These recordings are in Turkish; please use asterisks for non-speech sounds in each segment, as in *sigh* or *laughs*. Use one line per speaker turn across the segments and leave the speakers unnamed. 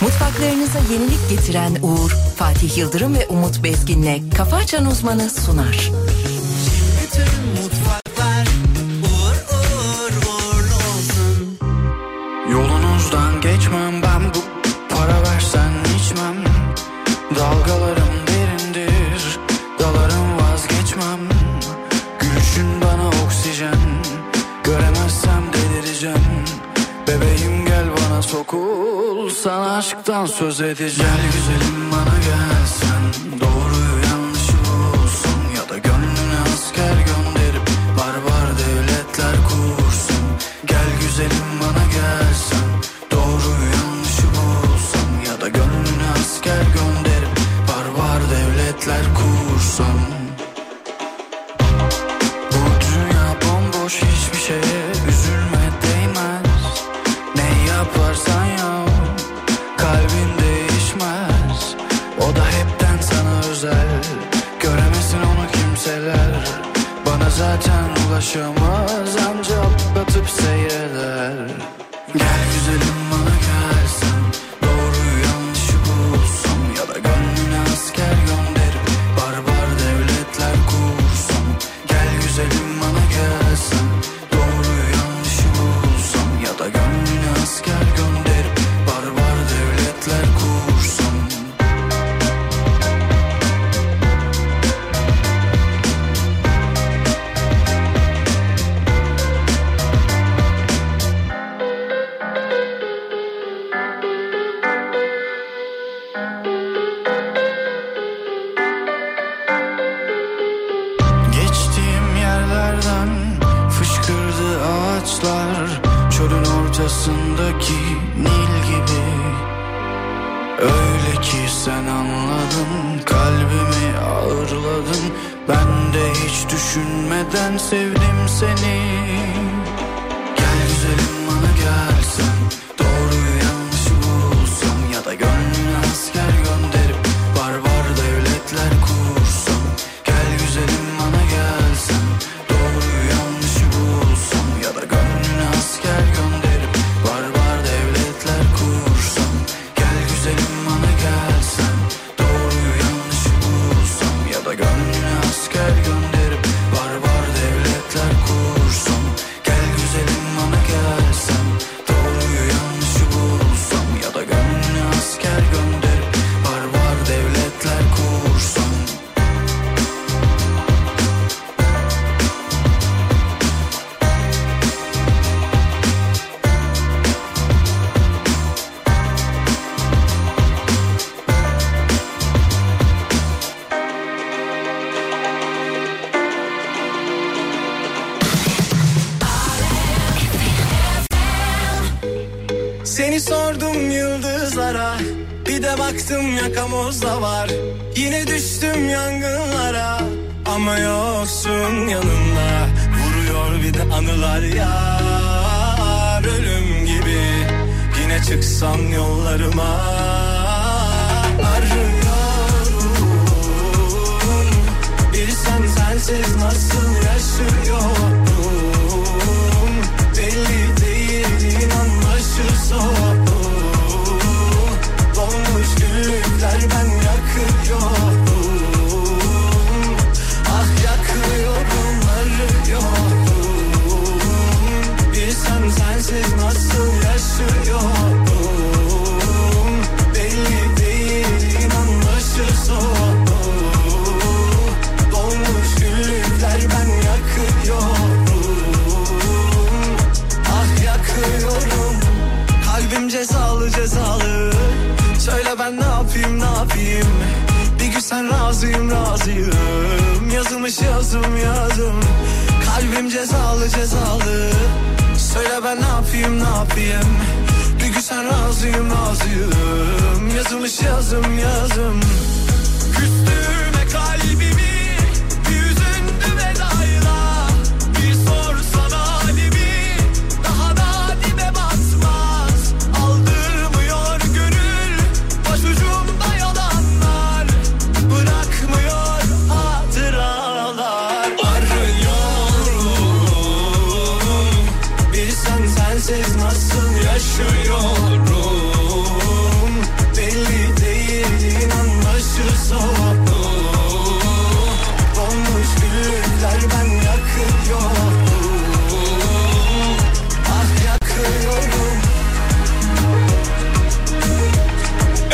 Yaptıklarınıza yenilik getiren Uğur, Fatih Yıldırım ve Umut Bezgin'le Kafa Açan Uzmanı sunar.
Yolunuzdan geçmem ben bu para versen içmem Dalgalarım derindir dalarım vazgeçmem Gülüşün bana oksijen göremezsem delireceğim Bebeğim gel bana sokul sana aşktan söz edeceğim Gel güzelim bana gelsen doğruyu yanlışı bulsun Ya da gönlüne asker gönderip barbar devletler kursun Gel güzelim bana gelsen Doğru yanlışı bulsam Ya da gönlüne asker gönderip Barbar devletler kursam Bu dünya bomboş hiçbir şeye Üzülme değmez Ne yaparsan yap Kalbin değişmez O da hepten sana özel Göremesin onu kimseler Bana zaten ulaşamaz Ancak batıp seyreder Gel güzelim bana gelsen Doğru yanlışı bulsam Ya da gönlüne asker gönderip Barbar devletler kursam Gel güzelim bana gelsen Doğru yanlışı bulsam Ya da gönlüne asker gönderip Barbar devletler kursam Geçtiğim yerlerden fışkırdı ağaçlar Çölün ortasındaki Nil gibi Öyle ki sen anladın kalbimi ağırladın Ben de hiç düşünmeden sevdim seni Gel güzelim bana gelsen Doğruyu yanlışı bulsam Ya da gönlüne asker gönderip Barbar devletler kursam Gel güzelim bana gelsen Doğruyu yanlışı bulsam Ya da gönlüne asker gönderip Barbar devletler kursam Gel güzelim bana gelsen Doğruyu yanlışı bulsam Ya da gönlüne asker gönderip Barbar devletler kursam Gel güzelim bana gelsen Doğruyu yanlışı bulsam Ya da gönlüne asker gönderip Barbar devletler kursam
Seni sordum yıldızlara Bir de baktım yakamozda var Yine düştüm yangınlara Ama yoksun yanımda Vuruyor bir de anılar ya Ölüm gibi Yine çıksan yollarıma Arıyorum Bilsen sensiz nasıl yaşıyorum Belli değil inanlaşırsa Donmuş gülükler ben yakıyorum Ah yakıyorum arıyorum Bilsem sensiz nasıl yaşıyorum Belli değil inanlaşırsa Dolmuş gülükler ben yakıyorum Ah yakıyorum Kalbim cezalı cezalı Söyle ben ne yapayım ne yapayım Bir gün sen razıyım razıyım Yazılmış yazım yazım Kalbim cezalı cezalı Söyle ben ne yapayım ne yapayım Bir gün sen razıyım razıyım Yazılmış yazım yazım Küstüğüme kalbimi Yüzündü vedayla Bir sorsana halimi Daha da dibe basmaz Aldırmıyor gönül Başucumda yalanlar Bırakmıyor hatıralar Arıyorum Bilsen sensiz nasıl yaşıyorum Deli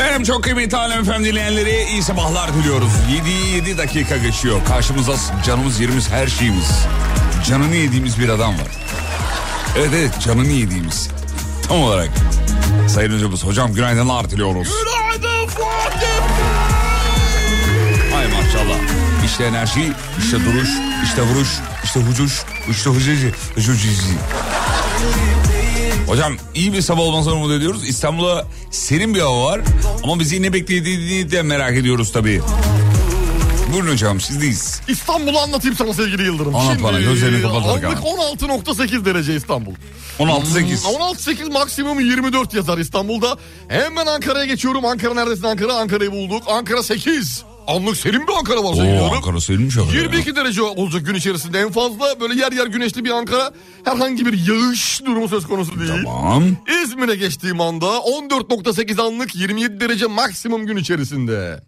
Ah,
çok kıymetli Alem Efendim dinleyenleri iyi sabahlar diliyoruz. 7'yi 7 dakika geçiyor. Karşımızda canımız yerimiz her şeyimiz. Canını yediğimiz bir adam var. Evet evet canını yediğimiz. Tam olarak. Sayın hocamız hocam günaydınlar diliyoruz.
Günaydın Fatih.
Ay maşallah. İşte enerji, işte duruş, işte vuruş, işte hucuş, işte hucuci, hucucici. Hocam iyi bir sabah olmasını umut ediyoruz. İstanbul'a serin bir hava var ama bizi ne beklediğini de merak ediyoruz tabii. Buyurun hocam sizdeyiz.
İstanbul'u anlatayım sana sevgili Yıldırım.
Anlat bana, gözlerini kapatarak
Anlık
anlat.
16.8 derece İstanbul. Hmm,
16-8.
16.8 maksimum 24 yazar İstanbul'da. Hemen Ankara'ya geçiyorum. Ankara neredesin Ankara? Ankara'yı bulduk. Ankara 8. Anlık serin bir Ankara var sevgili
Oo
Yıldırım.
Ankara serinmiş hava ya.
22 derece olacak gün içerisinde en fazla. Böyle yer yer güneşli bir Ankara. Herhangi bir yağış durumu söz konusu değil.
Tamam.
İzmir'e geçtiğim anda 14.8 anlık 27 derece maksimum gün içerisinde.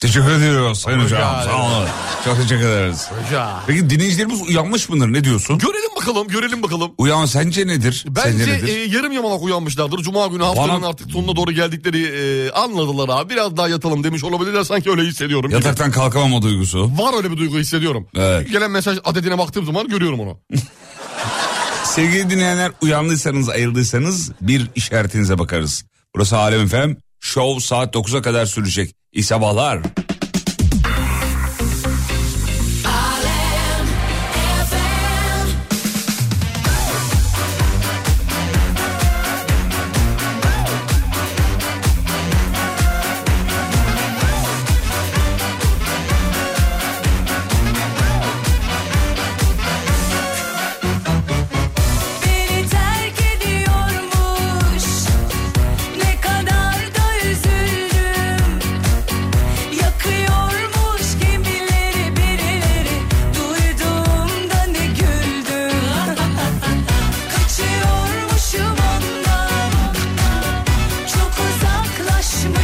Teşekkür ediyoruz Sayın
Rica
Hocam. Sağ olun. Çok teşekkür ederiz.
Hoca.
Peki dinleyicilerimiz uyanmış mıdır? Ne diyorsun?
Görelim bakalım, görelim bakalım.
Uyan sence nedir?
Bence
sence nedir?
e, yarım yamalak uyanmışlardır. Cuma günü haftanın
Bana-
artık sonuna doğru geldikleri e, anladılar abi. Biraz daha yatalım demiş olabilirler. Sanki öyle hissediyorum. gibi.
Yataktan kalkamam o duygusu.
Var öyle bir duygu hissediyorum.
Evet.
Gelen mesaj adedine baktığım zaman
*laughs*
görüyorum onu.
Sevgili dinleyenler uyandıysanız ayrıldıysanız bir işaretinize bakarız. Burası Alem FM. Show saat 9'a kadar sürecek. İyi sabahlar.
Beni terk ediyormuş Ne kadar da üzüldüm Yakıyormuş gemileri birileri Duyduğumda ne güldüm *laughs* Kaçıyormuşum ondan Çok uzaklaşmışım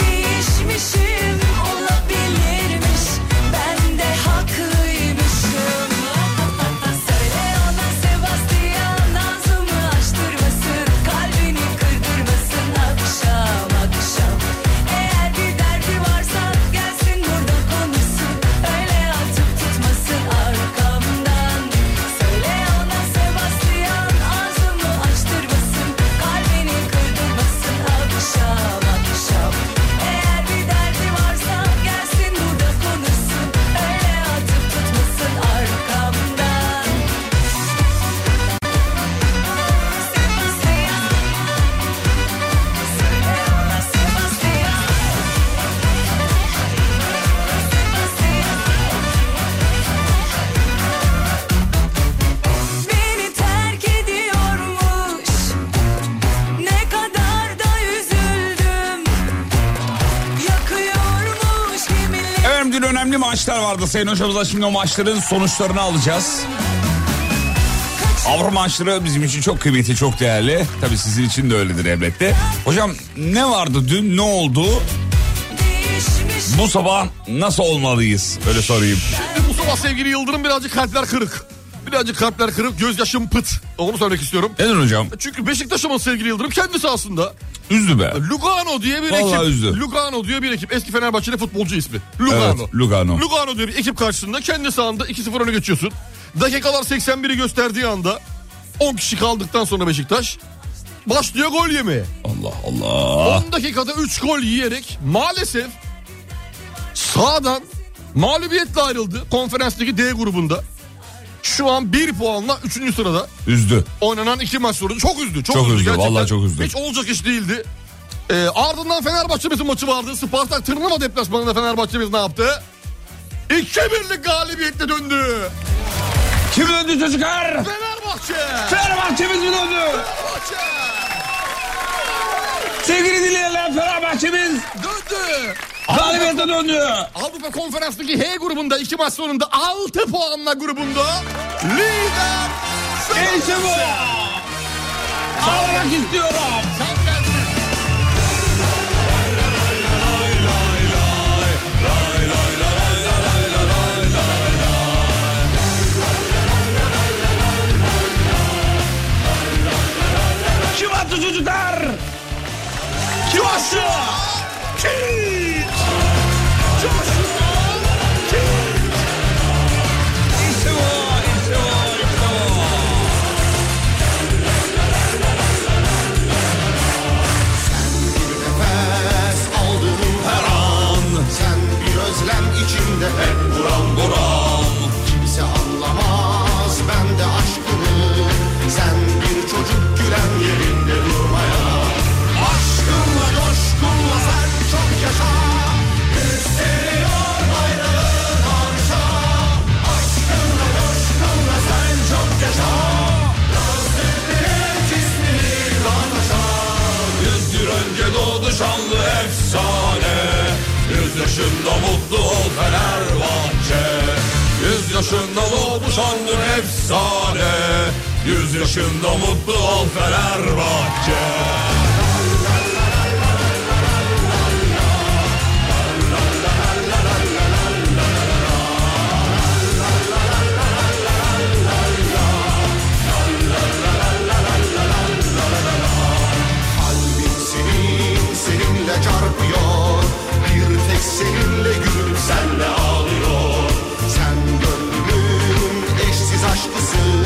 Değişmişim olabilirmiş Ben de haklıymışım *laughs* Söyle ona Sebastian ağzımı açtırmasın Kalbini kırdırmasın akşam akşam Eğer bir derdi varsa gelsin burada konuşsun Öyle atıp tutmasın arkamdan Söyle ona Sebastian ağzımı açtırmasın Kalbini kırdırmasın akşam akşam Eğer bir derdi varsa gelsin burada konuşsun Öyle atıp tutmasın arkamdan Sebastian Söyle ona Sebastian Beni terk ediyormuş Ne kadar da üzüldüm Yakıyormuş gemileri
Efendim dün önemli maçlar vardı Sayın Hocamızla. Şimdi o maçların sonuçlarını alacağız. Avrupa maçları bizim için çok kıymetli, çok değerli. Tabii sizin için de öyledir elbette. Hocam ne vardı dün, ne oldu?
değişmiş
Bu sabah nasıl olmalıyız? Öyle sorayım.
Şimdi bu sabah E, sevgili Yıldırım birazcık kalpler kırık. Birazcık kalpler kırık, gözyaşım pıt. Onu söylemek istiyorum.
Neden hocam?
Çünkü Beşiktaş'ımın sevgili Yıldırım kendisi aslında.
Üzdü be.
Lugano diye bir
Vallahi
ekip.
üzdü.
Lugano diye bir ekip. Eski Fenerbahçeli futbolcu ismi. Lugano.
Evet, Lugano.
Lugano diyor bir ekip karşısında kendi sahanda 2-0 öne geçiyorsun. Dakikalar 81'i gösterdiği anda 10 kişi kaldıktan sonra Beşiktaş başlıyor gol yemeye.
Allah Allah.
10 dakikada 3 gol yiyerek maalesef sağdan mağlubiyetle ayrıldı konferanstaki D grubunda. Şu an 1 puanla 3. sırada
Üzdü.
oynanan iki maç sonucu çok üzdü. Çok,
Çok
üzdü,
üzdü,
gerçekten.
vallahi çok üzdü.
Hiç olacak iş değildi. Ee, ardından Fenerbahçe bizim maçı vardı. Spartak Tırnava deplasmanında Fenerbahçe biz ne yaptı? 2-1'lik galibiyetle döndü.
Kim öldü çocuklar?
Fenerbahçe!
Fenerbahçe'miz mi döndü?
Fenerbahçe!
Sevgili dinleyenler Fenerbahçe'miz
Döndü!
galibiyete döndü.
Avrupa Konferansı'ndaki H grubunda iki maç sonunda 6 puanla grubunda lider Fenerbahçe.
İşte bu. Ağlamak istiyorum.
Sen gelsin.
Kim attı çocuklar?
Joshua Kidd. Joshua Kidd.
İşte bu, işte bu, işte bu.
Nefes aldığım her an Sen bir özlem içimde hep buram buram Kimse anlamaz ben de aşkını Sen bir çocuk gülen yerinde durmaya Aşkınla coşkunla sen çok yaşa Yükseliyor bayrağın arşa Aşkınla coşkunla sen çok yaşa Gözlerinin cismini anlaşa Yüz yıl önce doğdu şanlı efsane Yüz yaşında mutlu ol Fenerbahçe Yüz yaşında doğdu şanlı efsane Yüz yaşında mutlu ol Fenerbahçe Kalbim senin, seninle çarpıyor Bir tek seninle gülüp senle ağlıyor Sen gönlümün eşsiz aşkısın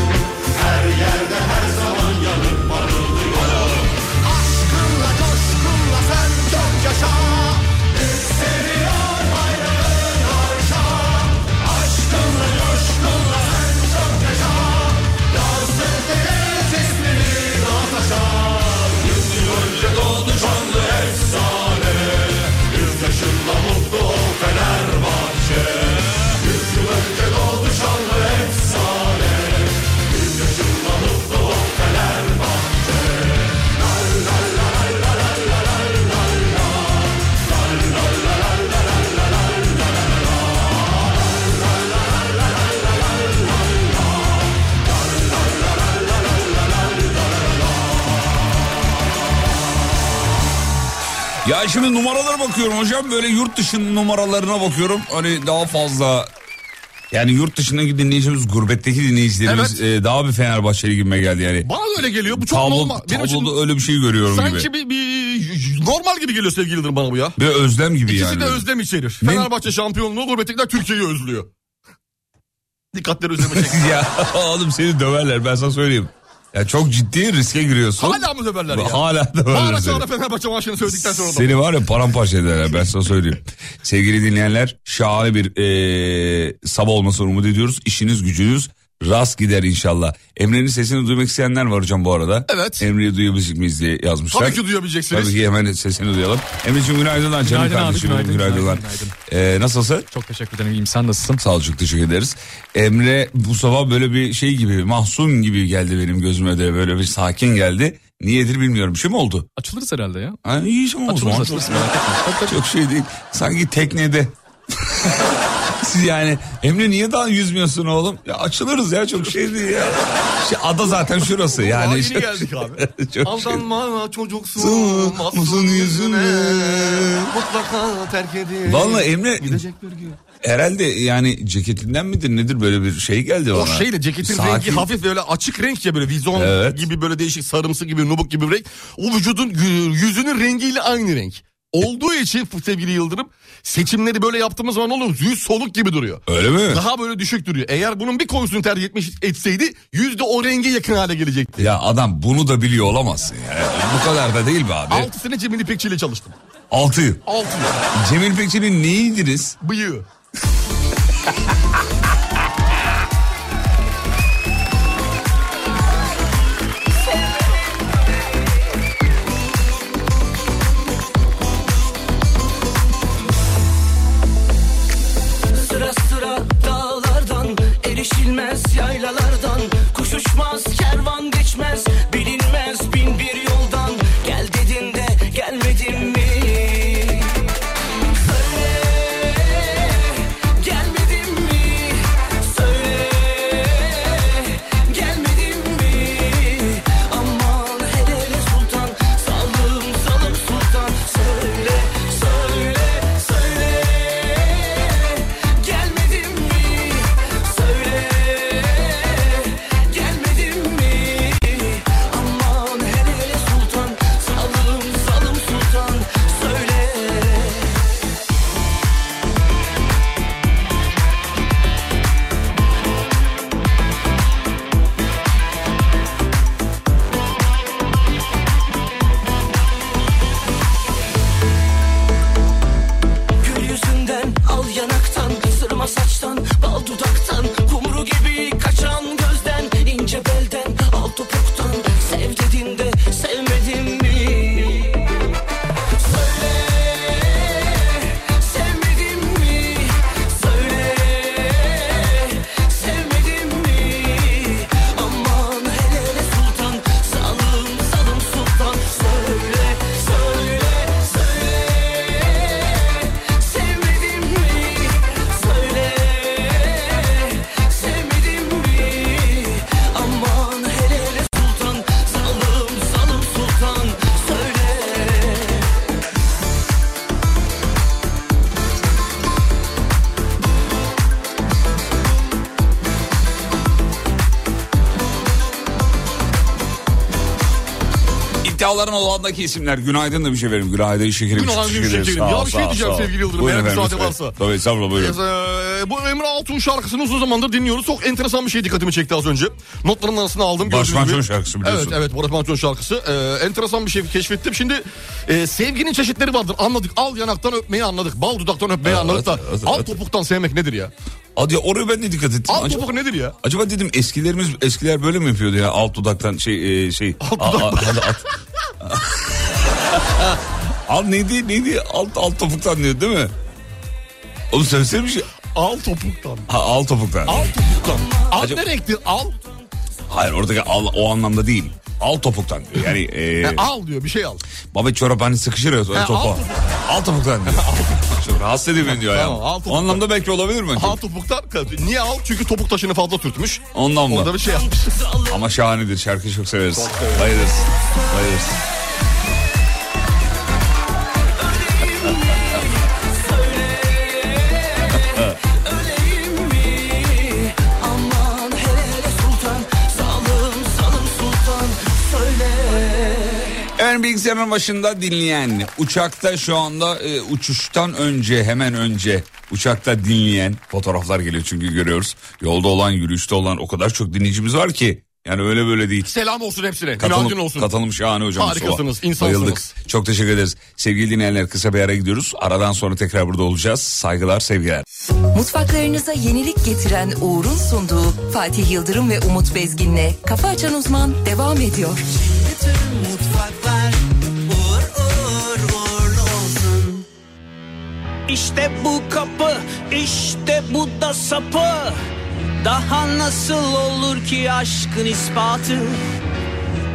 Her yerde her zaman yanıp parıldıyor Aşkınla coşkunla sen çok yaşa Yükseliyor bayrağın arşa Aşkınla coşkunla sen çok yaşa Yazdırdığı sesleri dağ Önce doğdu canlı efsane Yüz yaşında mutlu ol Fenerbahçe Yüz yıl önce doğdu canlı efsane Yüz yaşında mutlu ol Fenerbahçe
Ya şimdi numaralara bakıyorum hocam böyle yurt dışının numaralarına bakıyorum. Hani daha fazla yani yurt dışındaki dinleyicimiz gurbetteki dinleyicilerimiz e, daha bir Fenerbahçeli gibime geldi yani.
Bana da öyle geliyor. Bu çok
Tablo,
normal. Benim için
tabloda öyle bir şey görüyorum
sanki
gibi.
bir, bir- normal gibi geliyor sevgili Yıldırım bana bu ya.
Bir özlem gibi
İkisi
yani.
de özlem içerir.
Ne-
Fenerbahçe şampiyonluğu gurbettekiler Türkiye'yi özlüyor. *laughs* Dikkatleri
*laughs*
özleme çekiyor.
ya oğlum seni döverler ben sana söyleyeyim. Ya çok ciddi riske giriyorsun.
Hala mı döverler ya?
Hala döverler
Bağıra
seni.
çağıra Fenerbahçe maaşını söyledikten sonra da.
Seni var ya paramparça ederler ben sana söyleyeyim. Sevgili dinleyenler şahane bir eee, sabah olmasını umut ediyoruz. İşiniz gücünüz rast gider inşallah. Emre'nin sesini duymak isteyenler var hocam bu arada.
Evet.
Emre'yi duyabilecek miyiz diye yazmışlar.
Tabii ki duyabileceksiniz.
Tabii ki hemen sesini duyalım. Emre'ciğim günaydınlar canım
Günaydın abi,
kardeşim.
günaydın,
günaydınlar.
günaydın,
Eee, nasılsın?
Çok teşekkür ederim. İyiyim sen nasılsın?
Sağ ol çok teşekkür ederiz. Emre bu sabah böyle bir şey gibi mahzun gibi geldi benim gözüme de böyle bir sakin geldi. Niyedir bilmiyorum. Bir şey mi oldu?
Açılırız herhalde ya.
Ha, iyi ama o
Açılırız
zaman.
açılırız. merak etme.
Çok şey değil. Sanki teknede. *laughs* Siz yani Emre niye daha yüzmüyorsun oğlum? Ya açılırız ya çok şey değil ya. Şey, ada zaten şurası
Daha
yani.
yeni geldik abi.
*laughs* çok şey.
Aldanma çocuksun,
Sığ-
masum
uzun
yüzüne
yüzüne.
mutlaka terk edin.
Vallahi Emre
Gidecek bir gün.
herhalde yani ceketinden midir nedir böyle bir şey geldi bana.
O şeyle Oh, ceketin
Sakin.
rengi hafif böyle açık renk ya böyle vizon
Evet.
gibi böyle değişik sarımsı gibi nubuk gibi bir renk. O vücudun y- yüzünün rengiyle aynı renk. Olduğu için sevgili Yıldırım seçimleri böyle yaptığımız zaman olur yüz soluk gibi duruyor.
Öyle mi?
Daha böyle düşük duruyor. Eğer bunun bir koyusunu tercih etmiş etseydi yüzde o renge yakın hale gelecekti.
Ya adam bunu da biliyor olamazsın ya. Bu kadar da değil be abi.
Altı sene Cemil İpekçi ile çalıştım.
Altı.
Altı yıl.
Cemil Pekçi'nin neyiydiniz?
Bıyığı.
Sıra sıra dağlardan Erişilmez yaylalardan Kuş uçmaz kervan geçmez Bilinmez bin bir yoldan Gel dedin de gelmedin mi? Söyle gelmedin mi?
Siyahların odağındaki isimler. Günaydın da bir şey verim. Günaydın şekerim.
Günaydın
Teşekkür
şekerim.
ederiz. Sağ
Ya
ol,
bir şey
sağ ol,
diyeceğim
sağ ol.
sevgili Yıldırım,
Buyurun
eğer
efendim,
müsaade
lütfen.
varsa.
Tabii estağfurullah buyurun.
Ee, bu Emre Altuğ şarkısını uzun zamandır dinliyoruz. Çok enteresan bir şey dikkatimi çekti az önce. Notların arasına aldım.
Barış
gördüğünüz gibi.
Manço'nun şarkısı biliyorsun.
Evet evet Barış Manço'nun şarkısı. Ee, enteresan bir şey keşfettim. Şimdi e, sevginin çeşitleri vardır anladık. Al yanaktan öpmeyi anladık. Bal dudaktan öpmeyi
Evet,
anladık da.
evet,
Al
evet.
topuktan sevmek nedir ya?
Hadi ya, oraya ben de dikkat ettim.
Al
Acaba,
topuk nedir ya?
acaba dedim eskilerimiz eskiler böyle mi yapıyordu ya alt dudaktan şey e, şey. Alt Al,
*laughs*
al, al neydi neydi alt alt topuktan diyor değil mi? Oğlum söylesene bir şey.
Al topuktan.
Ha, al topuktan.
Al topuktan. Al
Acaba-
ne renktir? Al.
Hayır oradaki al o anlamda değil. Al topuktan diyor. Yani
*laughs*
e,
E, al diyor bir şey al.
baba çorap hani sıkışır ya sonra
Ha,
topa.
al
Al topuktan
*laughs*
diyor. Çok rahatsız ediyor beni diyor ya.
Tamam, al topuktan.
o anlamda belki olabilir mi?
Al topuktan. Niye al? Çünkü topuk taşını fazla sürtmüş.
Ondan mı?
Orada bir şey yapmış.
Ama şahanedir. Şarkıyı çok severiz. Bayılırız. Bayılırız. Efendim bilgisayarın başında dinleyen, uçakta şu anda e, uçuştan önce hemen önce uçakta dinleyen fotoğraflar geliyor çünkü görüyoruz. Yolda olan, yürüyüşte olan o kadar çok dinleyicimiz var ki. Yani öyle böyle değil.
Selam olsun hepsine. Günaydın
Katılım,
olsun.
katılım şahane hocam.
Harikasınız,
Mustafa.
insansınız.
Bayıldık. Çok teşekkür ederiz. Sevgili dinleyenler kısa bir ara gidiyoruz. Aradan sonra tekrar burada olacağız. Saygılar, sevgiler.
Mutfaklarınıza yenilik getiren Uğur'un sunduğu Fatih Yıldırım ve Umut Bezgin'le Kafa Açan Uzman devam ediyor.
İşte bu kapı, işte bu da sapı. Daha nasıl olur ki aşkın ispatı?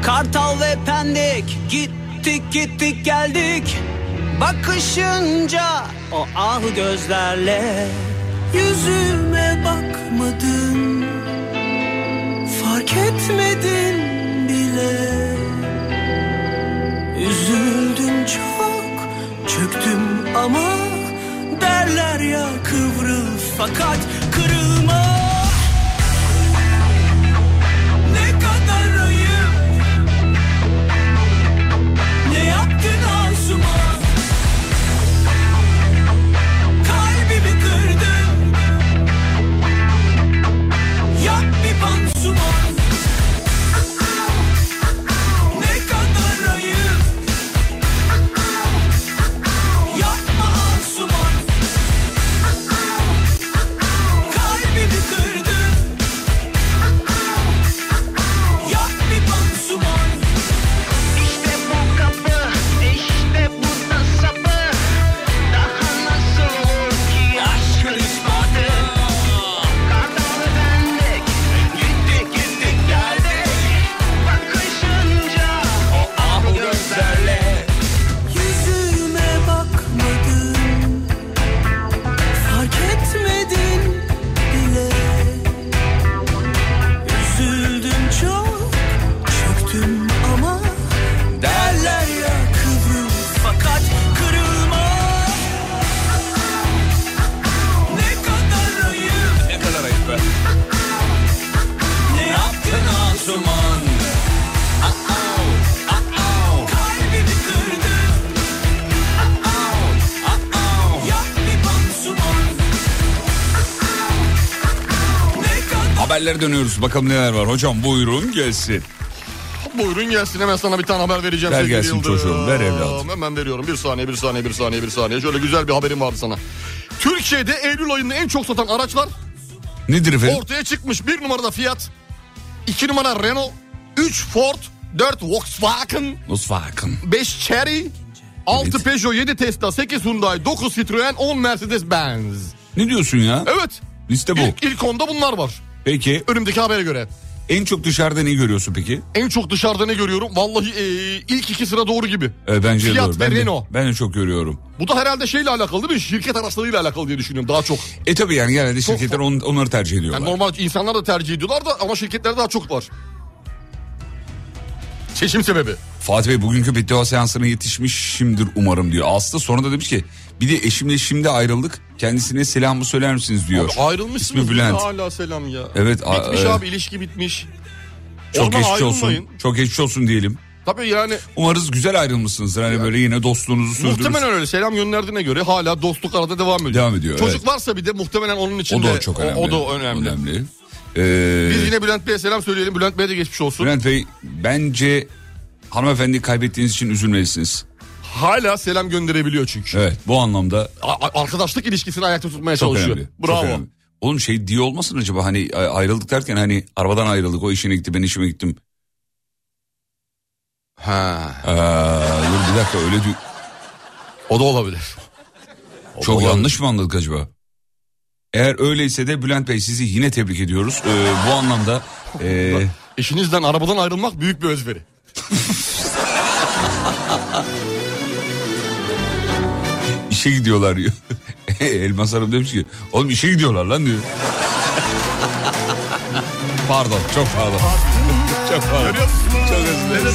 Kartal ve Pendik gittik gittik geldik. Bakışınca o ah gözlerle yüzüme bakmadın. Fark etmedin bile. Üzüldüm çok, çöktüm ama derler ya kıvrıl fakat kırılma. Ne kadar ayıp, ne yaptın ağzıma? Kalbimi kırdın, yap bir pansuman. Ne kadar ayıp, Yapma Asuman Kalbimi kırdın Yap bir pansuman İşte bu kapı işte bu da sapı Daha nasıl olur ki aşkın ispatı Kartalı bendik Gittik gittik geldik Bakışınca o ah gözlerle Yüzüme bakmadın Fark etmedin bile Üzüldüm çok Çöktüm ama Derler ya kıvrıl Fakat kırılma Ne kadar ayıp
Ne kadar ayıp be.
Ne yaptın Asuman Kalbimi kırdın Yap bir pansuman Ne kadar
Haberlere dönüyoruz. Bakalım neler var. Hocam buyurun gelsin.
Buyurun gelsin hemen sana bir tane haber vereceğim.
Ver
sevgili
gelsin
Yıldırım.
çocuğum, ver evladım.
Hemen veriyorum bir saniye bir saniye bir saniye bir saniye. Şöyle güzel bir haberim vardı sana. Türkiye'de Eylül ayında en çok satan araçlar
Nedir efendim?
ortaya çıkmış. Bir numarada Fiat, iki numara Renault, üç Ford, dört Volkswagen,
Volkswagen.
5 Cherry, 6
Evet.
Peugeot, 7 Tesla, 8 Hyundai, 9 Citroen, 10 Mercedes Benz.
Ne diyorsun ya?
Evet.
Liste E bu.
İlk, ilk onda bunlar var.
Peki
Önümdeki habere göre.
en çok dışarıda ne görüyorsun peki?
En çok dışarıda ne görüyorum? Vallahi e, ilk iki sıra doğru gibi.
E, bence de
Fiat
doğru.
ve
Ben de,
Renault.
ben de çok görüyorum.
Bu da herhalde şeyle alakalı değil mi? Şirket araçlarıyla alakalı diye düşünüyorum daha çok.
E tabi yani genelde şirketler
fa-
on- onları tercih ediyorlar.
Yani normal insanlar da tercih ediyorlar da ama şirketlerde daha çok var. Seçim sebebi.
Fatih Bey bugünkü beddua seansına yetişmişimdir umarım diyor. Aslı sonra da demiş ki bir de eşimle şimdi ayrıldık. Kendisine selamı söyler misiniz diyor.
Abi ayrılmışsınız.
İsmi Bülent.
Hala selam ya.
Evet, a-
Bitmiş
e-
abi ilişki bitmiş.
Çok
Oradan
geçmiş olsun.
ayrılmayın.
Çok geçmiş olsun diyelim.
Tabii yani.
Umarız güzel ayrılmışsınızdır. Hani böyle yine dostluğunuzu sürdürürsünüz.
Muhtemelen öyle selam gönderdiğine göre hala dostluk arada devam ediyor.
Devam ediyor,
Çocuk
evet.
varsa bir de muhtemelen onun için
O
de.
da çok önemli.
O, da önemli.
Ee,
Biz yine Bülent Bey'e selam söyleyelim. Bülent Bey'e de geçmiş olsun.
Bülent Bey bence hanımefendi kaybettiğiniz için üzülmelisiniz.
Hala selam gönderebiliyor çünkü.
Evet bu anlamda
A- a- arkadaşlık ilişkisini ayakta tutmaya
çok
çalışıyor.
önemli. çok
Bravo.
önemli. Oğlum şey diye olmasın acaba hani a- ayrıldık derken hani arabadan ayrıldık o işine gitti ben işime gittim.
Ha.
Ee, dur bir dakika öyle diyor.
O da olabilir.
Çok yanlış mı anladık acaba? Eğer öyleyse de Bülent Bey sizi yine tebrik ediyoruz. Ee, bu anlamda
*laughs*
e,
Eşinizden arabadan ayrılmak büyük bir özveri.
işe gidiyorlar diyor. *laughs* Elmas Hanım demiş ki oğlum işe gidiyorlar lan diyor. *laughs* pardon çok pardon. *laughs* çok pardon. Çok özür dilerim.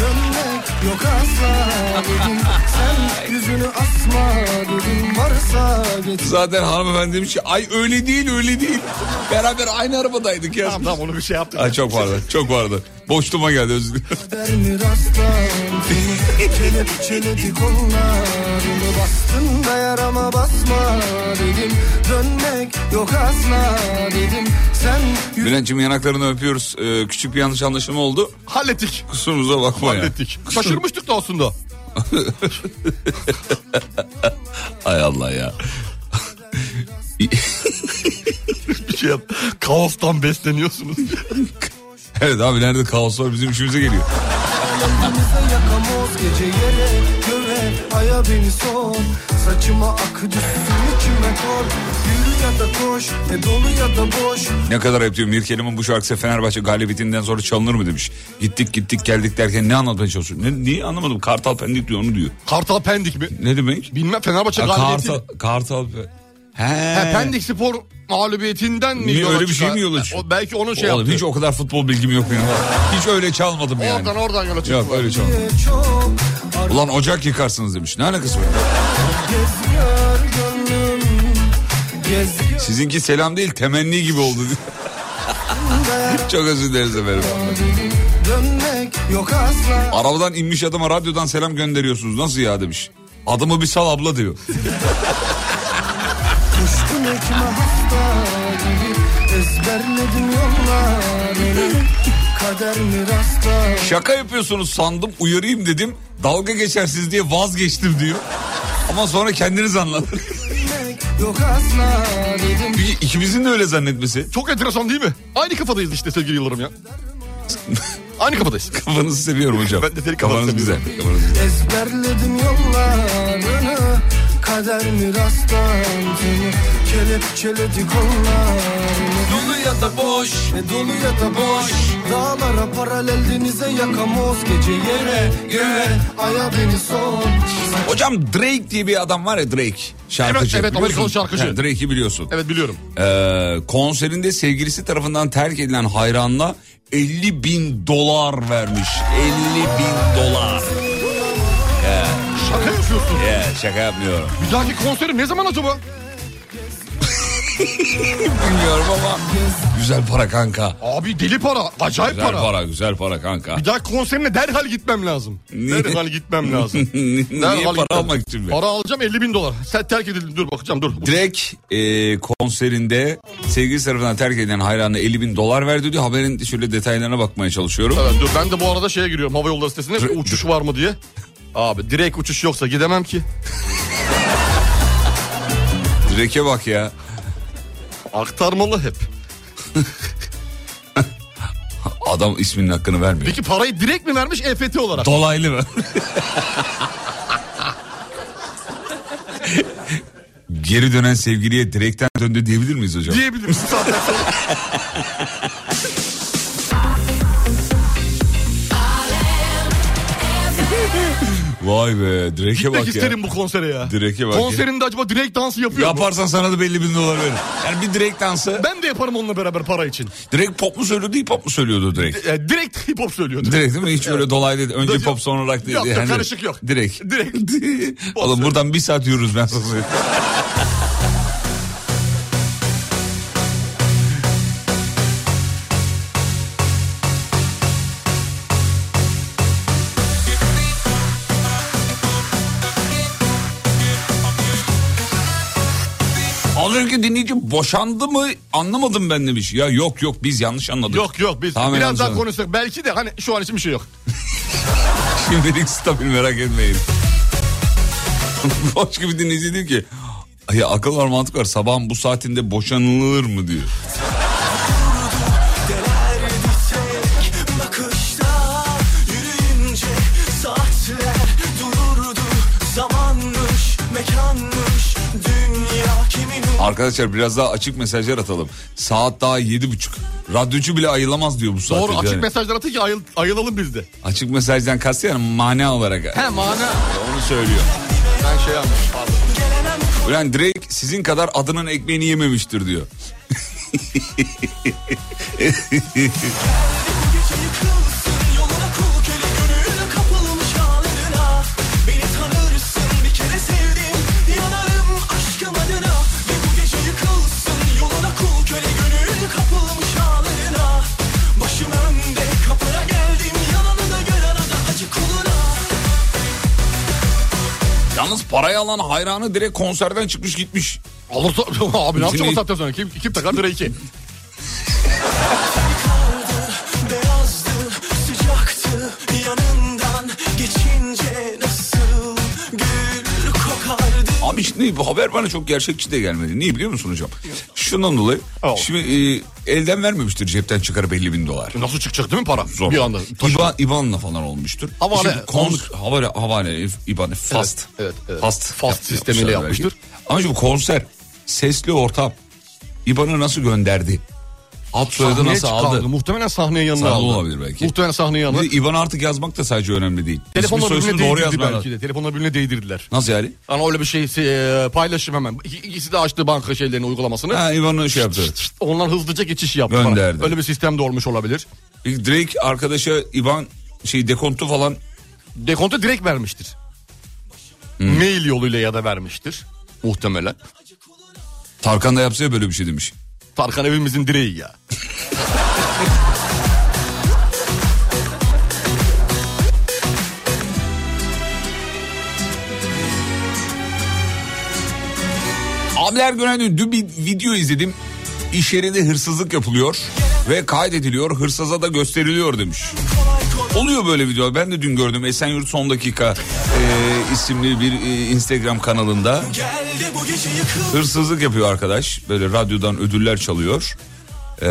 Dönmek yok asla dedim Sen yüzünü asma dedim Varsa geç
Zaten hanımefendi demiş ki ay öyle değil öyle değil. *laughs* Beraber aynı arabadaydık ya.
Tamam tamam onu bir şey yaptık.
Ay çok vardı çok vardı. Boşluğuma geldi özür dilerim.
der mi rastlantımı Çelep çeledi kollarımı Bastın da yarama basma dedim Dönmek yok asla dedim Sen
Bülent'ciğim yanaklarını öpüyoruz. Ee, küçük bir yanlış anlaşılma oldu.
Hallettik.
Kusurumuza bakma ya.
Hallettik. Şaşırmıştık da aslında.
*laughs* Ay Allah ya.
Bir şey yap. Kaostan besleniyorsunuz.
Evet abi nerede kaos var bizim işimize geliyor.
Elimize yakamoz gece yere göre aya beni son Saçıma akı düşsün içime kor Yürü ya da koş e dolu ya da boş
Ne kadar ayıp diyorum. Mirkelim'in bu şarkısı Fenerbahçe galibiyetinden sonra çalınır mı demiş. Gittik gittik geldik derken ne anlatmaya çalışıyor? Ne, niye anlamadım? Kartal Pendik diyor onu diyor.
Kartal Pendik mi?
Ne demek?
Bilmem Fenerbahçe
Ha,
galibiyeti.
Kartal, Kartal Pe- He.
Ha, Pendik Spor mağlubiyetinden mi
Niye
yola
öyle bir
çıkar?
şey mi yola
O
çıkıyor?
belki onun şey
Oğlum
yaptı.
hiç o kadar futbol bilgim yok benim. Hiç öyle çalmadım yani.
Oradan oradan yola çıktı.
Yok öyle çalmadım.
Çok
Ulan ocak yıkarsınız demiş. Ne alakası var?
geziyor gönlüm Geziyor
Sizinki selam değil temenni gibi oldu. Çok özür dileriz efendim.
dönmek yok asla
Arabadan inmiş adama radyodan selam gönderiyorsunuz. Nasıl ya demiş. Adımı bir sal abla diyor.
Düştüm ekime hafta gibi Ezberledim yollarını Kader mi rastlar
Şaka yapıyorsunuz sandım uyarayım dedim. Dalga geçersiniz diye vazgeçtim diyor. Ama sonra kendiniz anladın.
Dönmek yok asla dedim
Bir ikimizin de öyle zannetmesi.
Çok enteresan değil mi? Aynı kafadayız işte sevgili
*laughs*
Yıldırım ya. Aynı kafadayız.
Kafanızı seviyorum hocam.
*laughs* Ben de seni kafanı
Kafanız güzel.
seviyorum.
Kafanız güzel.
Ezberledim yollarını Kader mi rastlantını Kelepçeledi kollarını
Dolu ya da boş
E dolu ya da boş Dağlara paralel denize yakamoz Gece yere göğe aya beni son
Hocam Drake diye bir adam var ya Drake. Şarkıcı.
Evet, evet, Amerikalı
Biliyorsun.
şarkıcı.
Ha, Drake'i biliyorsun.
Evet biliyorum.
Ee, konserinde sevgilisi tarafından terk edilen hayranla 50 bin dolar vermiş. 50 bin dolar.
Şaka yapıyorsun.
Ya şaka yapmıyorum.
Bir dahaki konseri ne zaman acaba?
Bilmiyorum ama güzel para kanka.
Abi deli para. Acayip
Güzel
para.
para, güzel para kanka.
Bir dahaki konserine derhal gitmem lazım.
*laughs* Niye?
Derhal gitmem lazım.
*laughs* Niye para almak için mi?
Para alacağım 50 bin dolar. Sen terk edildin dur bakacağım dur.
Direkt e, konserinde sevgilisi tarafından terk edilen hayranına 50 bin dolar verdi diyor. Haberin şöyle detaylarına bakmaya çalışıyorum.
Evet, dur. Ben de bu arada şeye giriyorum hava yolları sitesine bir uçuş var mı diye. Abi direkt uçuş yoksa gidemem ki.
Direk'e bak ya.
Aktarmalı hep.
Adam isminin hakkını vermiyor.
Peki parayı direkt mi vermiş EFT olarak?
Dolaylı mı? Geri dönen sevgiliye direkten döndü diyebilir miyiz hocam? *laughs*
Diyebilirim zaten.
Vay be direk'e
Gitmek
bak ya.
isterim bu konsere ya.
Direk'e bak ya.
Konserinde acaba direkt dansı yapıyor mu?
Yaparsan sana da belli bin dolar verir. Yani bir direkt dansı.
Ben de yaparım onunla beraber para için.
Direkt pop mu söylüyordu hip hop mu söylüyordu direkt?
E, direkt hip hop söylüyordu.
Direkt değil mi? Hiç öyle dolaylı değil. Önce
Yok,
pop sonra rock değil.
yok, yok,
Yani
karışık yok.
Direkt. *laughs*
Direkt.
Oğlum buradan bir saat yürürüz ben sana söyleyeyim. Az önceki dinleyici boşandı mı anlamadım ben demiş. Ya yok yok biz yanlış anladık.
Yok yok biz
Tamamen
biraz daha
yanlış anladık.
konuşsak belki de hani şu an için bir şey yok.
Şimdilik stabil merak etmeyin. *laughs* Hoş gibi dinleyici diyor ki ya akıl var mantık var sabahın bu saatinde boşanılır mı diyor.
Bakışta yürüyünce saatler dururdu Zamanmış, mekanmış, dünya kimin
Arkadaşlar biraz daha açık mesajlar atalım. Saat daha yedi buçuk. Radyocu bile ayılamaz diyor bu saatte.
Doğru açık
Yani
mesajlar atın ki ayıl, ayılalım biz de.
açık mesajdan kastı yani mana olarak.
He mana.
Onu söylüyor.
Ben şey yapmışım pardon.
Ulan Drake sizin kadar adının ekmeğini yememiştir diyor.
Yoluna kul köle gönül kapılmış ağlarına Beni tanırsın bir kere sevdim Yanarım aşkım adına Ve bu gece yıkılsın yoluna kul köle gönül kapılmış ağlarına Başım önde kapıra geldim Yalanını gör arada acı kuluna
Yalnız parayı alan hayranı direkt konserden çıkmış gitmiş.
Alırsa *laughs* abi ne yapacağım o
Şimdi-
saatten sonra? Kim, kim takar Drake'i?
Beyazdı sıcaktı yanından Geçince nasıl gül kokardı
Abi şimdi bu haber bana çok gerçekçi de gelmedi. Niye biliyor musun hocam? Şundan dolayı
Al.
şimdi e, elden vermemiştir cepten çıkarıp 50 bin dolar.
Nasıl çıkacak değil mi para?
Zor.
Bir anda.
İban, İban'la falan olmuştur.
Havale-
Şimdi Kons, havale, havale, İban'ı fast.
evet, evet.
Fast.
Fast sistemiyle
yapmışlar
yapmıştır.
belki. Ama şimdi konser, sesli ortam. İban'ı nasıl gönderdi? Alt soyadı
Sahneye
nasıl
çıkardı.
aldı?
Muhtemelen sahneye yanına
Sahne
aldı.
olabilir belki.
Muhtemelen sahneye yanına.
Bir de İban artık yazmak da sadece önemli değil.
Telefonla
İsmi
birbirine
soyisini doğru
değdirdi
yazmak
belki
lazım.
de. Telefonla birbirine değdirdiler.
Nasıl yani?
Ana öyle bir şey e, paylaşım hemen. İki- İkisi de açtı banka şeylerini uygulamasını.
Ha İban'ı şey yaptı.
Şşt, Onlar hızlıca geçiş yaptı. bana.
Gönderdi.
Öyle bir sistem de olmuş olabilir.
Drake arkadaşa İban şey dekontu falan
Dekontu direkt vermiştir.
Hmm.
Mail yoluyla ya da vermiştir. Muhtemelen.
Tarkan da yapsa ya böyle bir şey demiş.
Tarkan evimizin direği ya.
Abiler günaydın. Dün bir video izledim. İş yerinde hırsızlık yapılıyor ve kaydediliyor. Hırsıza da gösteriliyor demiş. Oluyor böyle videolar. Ben de dün gördüm. Esenyurt Son Dakika e, isimli bir e, Instagram kanalında.
Geldi bu gece yıkıl
Hırsızlık yapıyor arkadaş. Böyle radyodan ödüller çalıyor. E,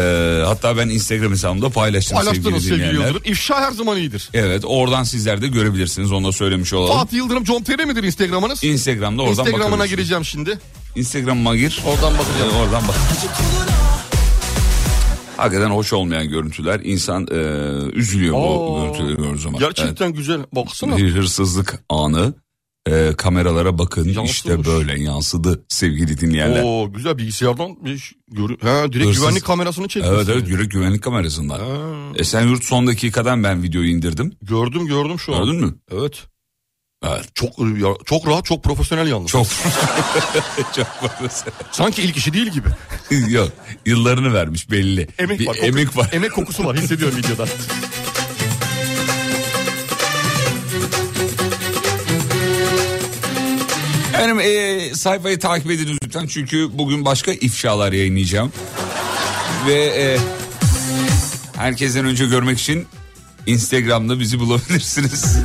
hatta ben Instagram hesabımda paylaştım sevgili
Paylaştınız sevgili
dinleyenler.
Yıldırım. İfşa her zaman iyidir.
Evet oradan sizler de görebilirsiniz. Onu da söylemiş olalım.
Fatih Yıldırım comptere midir Instagram'ınız?
Instagram'da oradan
Instagram'ına
bakabilirsiniz.
gireceğim şimdi.
Instagram'ıma gir.
Oradan bakacağım.
Ee, oradan bak. Hakikaten hoş olmayan görüntüler. İnsan e, üzülüyor bu
Oo.
görüntüleri gördüğü zaman.
Gerçekten güzel. Baksana.
Evet. Bir hırsızlık anı. E, kameralara bakın
Yansımış.
işte böyle yansıdı sevgili dinleyenler.
Oo güzel bilgisayardan bir ş- görü. He direkt
Hırsız.
güvenlik kamerasını çekmiş.
Evet evet yürek güvenlik kamerasından. Esenyurt son dakikadan ben videoyu indirdim.
Gördüm gördüm şu an.
Gördün mü?
Evet.
Evet.
Çok e, ya, çok rahat, çok profesyonel yalnız.
Çok *laughs* çok profesyonel.
Sanki ilk işi değil gibi.
Yok yıllarını vermiş belli.
Emek
bir
var. koku-
emek var.
Emek kokusu var
*laughs*
hissediyorum videoda.
Efendim e, sayfayı takip ediniz lütfen çünkü bugün başka ifşalar yayınlayacağım. Ve e, herkesten önce görmek için Instagram'da bizi bulabilirsiniz.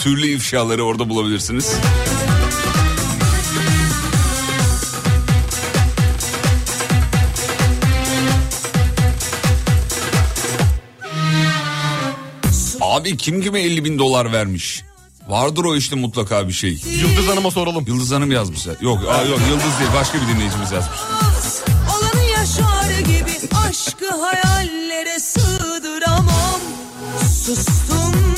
Türlü ifşaları orada bulabilirsiniz. Abi kim kime 50 bin dolar vermiş? Vardır o işte mutlaka bir şey.
Yıldız Hanım'a soralım.
Yıldız Hanım yazmış. Yok, aa, yok Yıldız değil başka bir dinleyicimiz yazmış.
Az Olanı yaşar gibi aşkı hayallere sığdıramam Sustum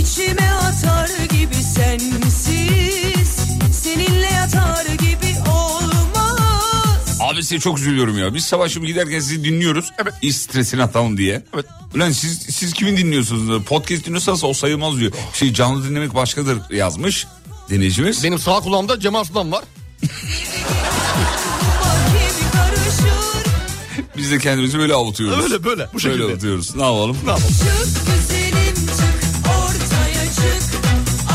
içime atar gibi sensiz Seninle yatar gibi olmaz
Abi size çok üzülüyorum ya. Biz sabah şimdi giderken sizi dinliyoruz. Evet. İş stresini atalım diye.
Evet.
Ulan siz, siz kimin dinliyorsunuz? Podcast dinliyorsanız o sayılmaz diyor.
Oh.
Şey canlı dinlemek başkadır yazmış dinleyicimiz.
Benim sağ kulağımda Cem Arslan var.
Bak gibi karışır
Biz de kendimizi böyle avutuyoruz.
Öyle böyle bu şekilde.
Böyle avutuyoruz. Ne yapalım?
Çık güzelim çık ortaya çık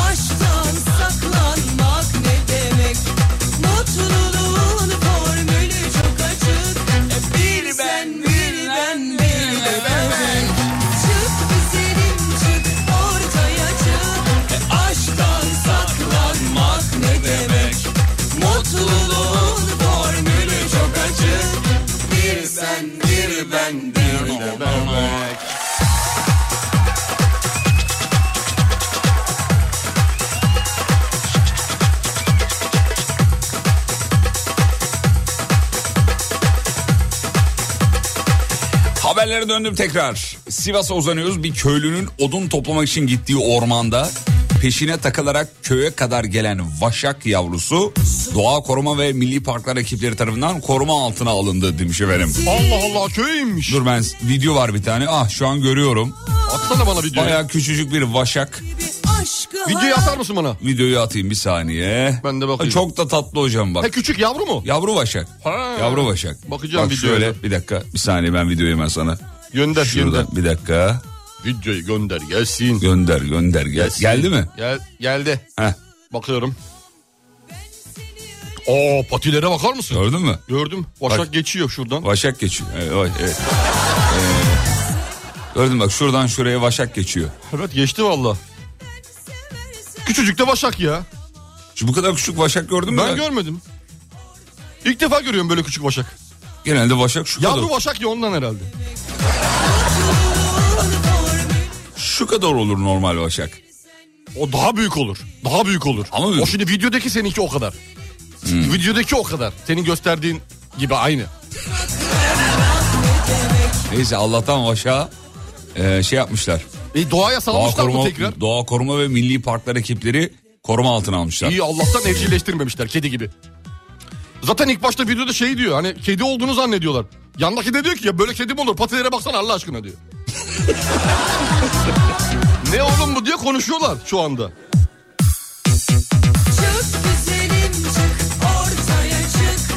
Aşk
Eskidenlere döndüm tekrar. Sivas'a uzanıyoruz. Bir köylünün odun toplamak için gittiği ormanda peşine takılarak köye kadar gelen vaşak yavrusu Doğa Koruma ve Milli Parklar ekipleri tarafından koruma altına alındı demiş efendim.
Allah Allah köye inmiş.
Dur ben video var bir tane. Ah şu an görüyorum.
Atsana bana videoyu.
Baya küçücük bir vaşak.
aşkı
Videoyu atar mısın bana?
Videoyu atayım bir saniye.
Ben de bakayım.
Çok da tatlı hocam bak.
Ha küçük yavru mu?
Yavru vaşak.
Ha.
Yavru vaşak.
Bakacağım
Bak
videoya.
şöyle bir dakika. Bir saniye ben videoyu hemen sana.
Gönder gönder.
Şuradan bir dakika.
Videoyu gönder gelsin.
Gönder gönder. Gel.
Gelsin.
Geldi mi?
Gel, geldi.
Heh,
Bakıyorum. Oo patilere bakar mısın?
gördün mü?
Gördüm. Başak
Bak.
geçiyor şuradan.
Vaşak geçiyor. Evet, vay, evet. Ee, gördün mü bak şuradan şuraya vaşak geçiyor.
Evet geçti valla. Küçücük de Başak ya.
Şu bu kadar küçük vaşak gördün mü?
Ben
ya?
görmedim. İlk defa görüyorum böyle küçük Başak.
Genelde vaşak şu
Yavru
kadar.
Başak ya ondan herhalde.
Şu kadar olur normal vaşak.
O daha büyük olur. Daha büyük olur.
Ama Hmm. büyük.
O şimdi videodaki seninki o kadar. Videodaki o kadar. Senin gösterdiğin gibi aynı.
Neyse Allah'tan vaşağı e, şey yapmışlar.
E doğaya
Doğa
salmışlar mı
koruma,
tekrar?
doğa koruma ve milli parklar ekipleri koruma altına almışlar.
İyi Allah'tan evcilleştirmemişler kedi gibi. Zaten ilk başta videoda şey diyor hani kedi olduğunu zannediyorlar. Yandaki de diyor ki ya böyle kedi mi olur patilere baksana Allah aşkına diyor. ne oğlum bu diye konuşuyorlar şu anda.
Çık güzelim çık ortaya çık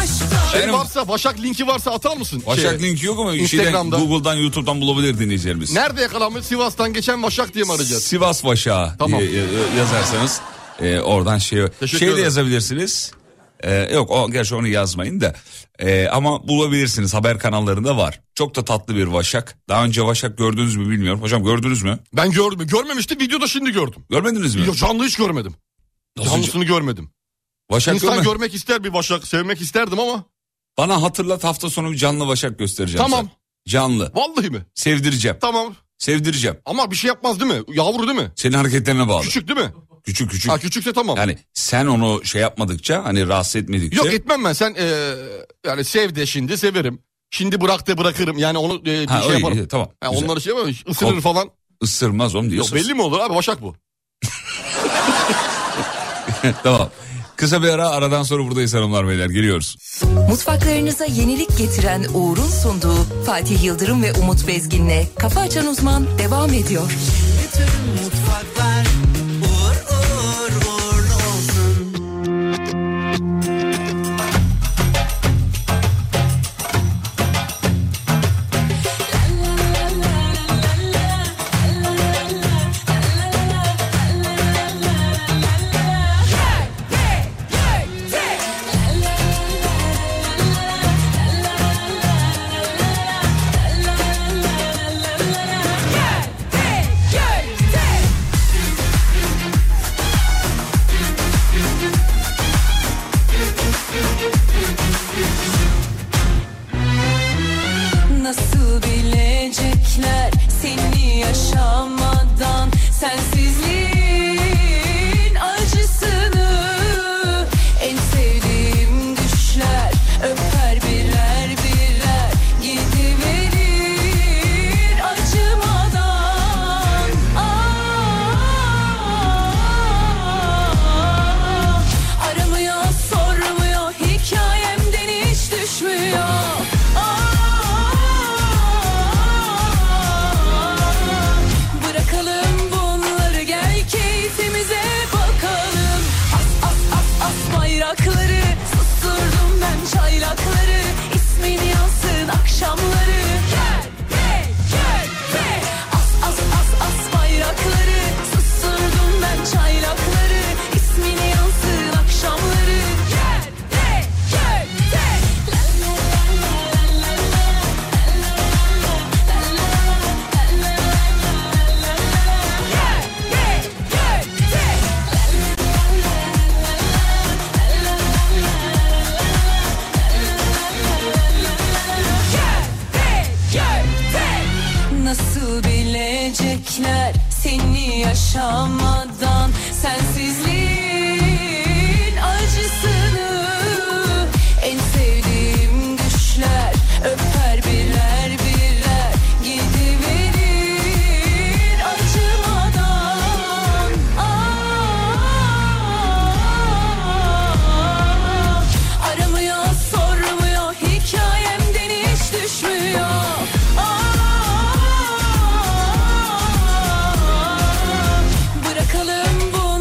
Aşkta
Şey
Benim-
varsa Başak linki varsa atar mısın? Şey,
Vaşak
Şeye.
linki yok ama
Instagram'da.
şeyden, Google'dan YouTube'dan bulabilir dinleyicilerimiz.
Nerede yakalanmış Sivas'tan geçen Başak diye mi arayacağız?
Sivas Vaşağı
Tamam.
diye e, e, yazarsanız e, oradan şey
Teşekkür
şey de
ederim.
yazabilirsiniz. E, yok o gerçi onu yazmayın da E, ama bulabilirsiniz haber kanallarında var. Çok da tatlı bir Vaşak. Daha önce Vaşak gördünüz mü bilmiyorum. Hocam gördünüz mü?
Ben gördüm. Görmemiştim videoda şimdi gördüm.
Görmediniz mi?
Yok canlı hiç görmedim.
Nasıl
Canlısını görmedim.
Vaşak
İnsan
görme-
görmek ister bir Başak sevmek isterdim ama.
Bana hatırlat hafta sonu bir canlı Vaşak göstereceğim.
Tamam.
sana. Canlı.
Vallahi mi?
Sevdireceğim.
Tamam.
Sevdireceğim.
Ama bir şey yapmaz değil mi? Yavru değil mi?
Senin hareketlerine bağlı. Küçük
Küçük değil mi?
küçük.
Ha küçükse tamam.
Yani sen onu şey yapmadıkça hani rahatsız etmedikçe.
Yok etmem ben. Sen eee, yani sev de şimdi severim. Şimdi bırak da bırakırım. Yani onu eee, bir
Ha,
şey
öyle,
yaparım.
iyi, tamam.
Ha,
Güzel.
onları şey yapamam. Isırır
Kom-
falan.
Isırmaz oğlum
Yok
diyorsun.
belli mi olur abi? Başak bu.
tamam. Kısa bir ara aradan sonra buradayız hanımlar beyler geliyoruz.
Mutfaklarınıza yenilik getiren Uğur'un sunduğu Fatih Yıldırım ve Umut Bezgin'le Kafa Açan Uzman devam ediyor.
mutfaklar uğur uğur uğurlu olsun.
Nasıl bilecekler seni yaşamadan Sensizliğin acısını En sevdiğim düşler öper birer birer Gidiverir acımadan Ah, Aramıyor sormuyor hikayemden hiç düşmüyor Ah, Aa, Bırakalım bunları gel keyfimize bakalım As as as as bayrakları Susturdum ben çaylakları İsmin yansın akşamları Gel hey gel hey As as as as bayrakları Susturdum ben çaylakları İsmin yansın akşamları Gel hey gel hey La la la la la la Nasıl bilecekler seni yaşamadan Sensizliğin acısını En sevdiğim düşler öper birer birer Ah, Ah,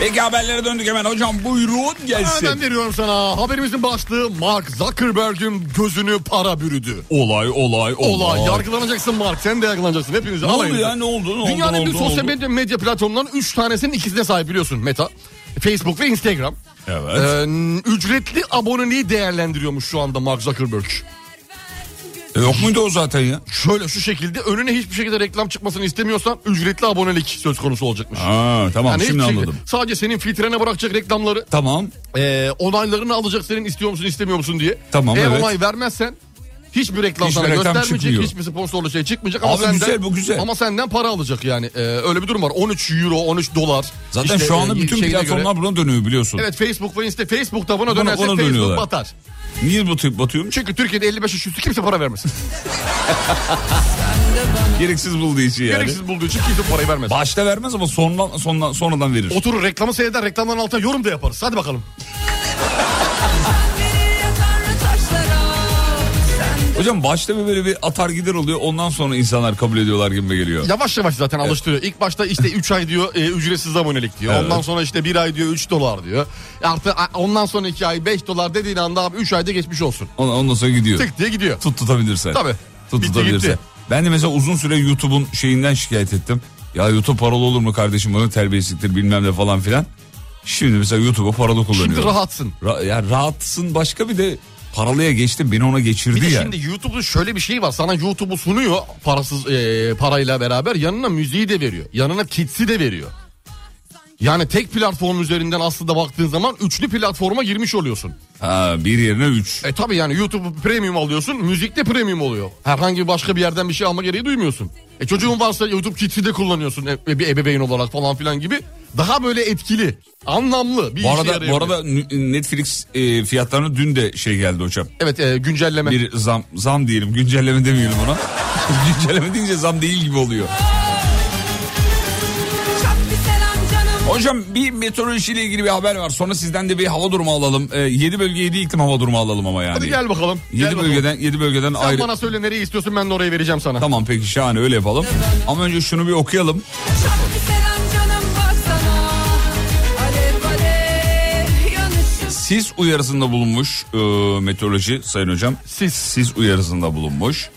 Peki haberlere döndük hemen hocam buyurun
Hemen
gelsin.
veriyorum sana. Haberimizin başlığı Mark Zuckerberg'in gözünü para bürüdü.
Olay olay
Ola
olay.
yargılanacaksın Mark sen de yargılanacaksın hepiniz
Ne oldu
alayınızı.
ya ne oldu ne oldu?
Dünyanın
ne
en
oldu,
büyük
ne
sosyal
oldu?
medya, medya platformlarının 3 tanesinin ikisine sahip biliyorsun Meta. Facebook ve Instagram.
Evet.
Ee, ücretli aboneliği değerlendiriyormuş şu anda Mark Zuckerberg.
E, Yok muydu o zaten ya?
Şöyle şu şekilde önüne hiçbir şekilde reklam çıkmasını istemiyorsan ücretli abonelik söz konusu olacakmış.
Ha tamam
Yani
şimdi
hiçbir şey- şekilde-
anladım.
Sadece senin filtrene bırakacak reklamları
Tamam.
e, onaylarını alacak senin istiyor musun istemiyor musun diye.
Tamam,
Eğer
evet.
onay vermezsen hiçbir reklam
Hiçbir
sana
reklam
göstermeyecek.
çıkmıyor.
Hiçbir sponsorlu şey çıkmayacak. Ama
Abi
senden,
güzel, bu güzel.
Ama senden para alacak yani. E, öyle bir durum var. 13 euro 13 dolar.
Zaten
İşte,
şu anda
e,
bütün
şeyine
platformlar
göre.
buna dönüyor biliyorsun.
Evet Facebook ve Insta. Facebook'ta buna,
Buna-
dönerse
buna
Facebook
dönüyorlar.
batar.
Niye batıyor, batıyormuş?
Çünkü Türkiye'de 55 yaş üstü kimse para vermez.
Gereksiz bulduğu için yani.
Gereksiz bulduğu için kimse parayı vermez.
Başta vermez ama sonradan, sonradan, sonradan verir.
Oturur reklamı seyreder reklamların altına yorum da yaparız. Hadi bakalım.
Hocam başta bir böyle bir atar gider oluyor ondan sonra insanlar kabul ediyorlar gibi geliyor.
Yavaş yavaş zaten alıştırıyor. İlk başta işte 3 ay diyor e, ücretsiz abonelik diyor.
Evet.
Ondan sonra işte 1 ay diyor 3 dolar diyor. E, Artı a- ondan sonra 2 ay 5 dolar dediğin anda abi 3 ayda geçmiş olsun.
Ondan, ondan sonra gidiyor.
Tık diye gidiyor.
Tut tutabilirsen.
Tabii.
Tut
Bitti
tutabilirsen.
gitti.
Ben de mesela uzun süre YouTube'un şeyinden şikayet ettim. Ya YouTube paralı olur mu kardeşim bana terbiyesizliktir bilmem ne falan filan. Şimdi mesela YouTube'u paralı kullanıyorum.
Şimdi rahatsın.
Ra- ya rahatsın başka bir de paralıya geçtim beni ona geçirdi
Bir de
ya.
şimdi YouTube'da şöyle bir şey var. Sana YouTube'u sunuyor parasız e, parayla beraber. Yanına müziği de veriyor. Yanına Kids'i de veriyor. Yani tek platform üzerinden aslında baktığın zaman üçlü platforma girmiş oluyorsun.
Ha, bir yerine üç.
E tabi yani YouTube premium alıyorsun, müzik de premium oluyor. Herhangi başka bir yerden bir şey alma gereği duymuyorsun. E çocuğun varsa YouTube Kids'i de kullanıyorsun e, bir ebeveyn olarak falan filan gibi. Daha böyle etkili, anlamlı bir
Bu
işe
arada, bu
yarayabilir.
arada Netflix e, fiyatlarına dün de şey geldi hocam.
Evet e, güncelleme.
Bir zam zam diyelim güncelleme demeyelim ona. *laughs* güncelleme deyince zam değil gibi oluyor. Hocam bir meteorolojiyle ilgili bir haber var. Sonra sizden de bir hava durumu alalım. 7 bölge 7 iklim hava durumu alalım ama yani.
Hadi gel bakalım. gel
7
bakalım.
bölgeden 7 bölgeden
Sen
ayrı.
bana söyle nereyi istiyorsun ben de orayı vereceğim sana.
Tamam peki şahane öyle yapalım. Ama önce şunu bir okuyalım. Sis uyarısında bulunmuş e, meteoroloji sayın hocam.
Sis.
Sis uyarısında bulunmuş.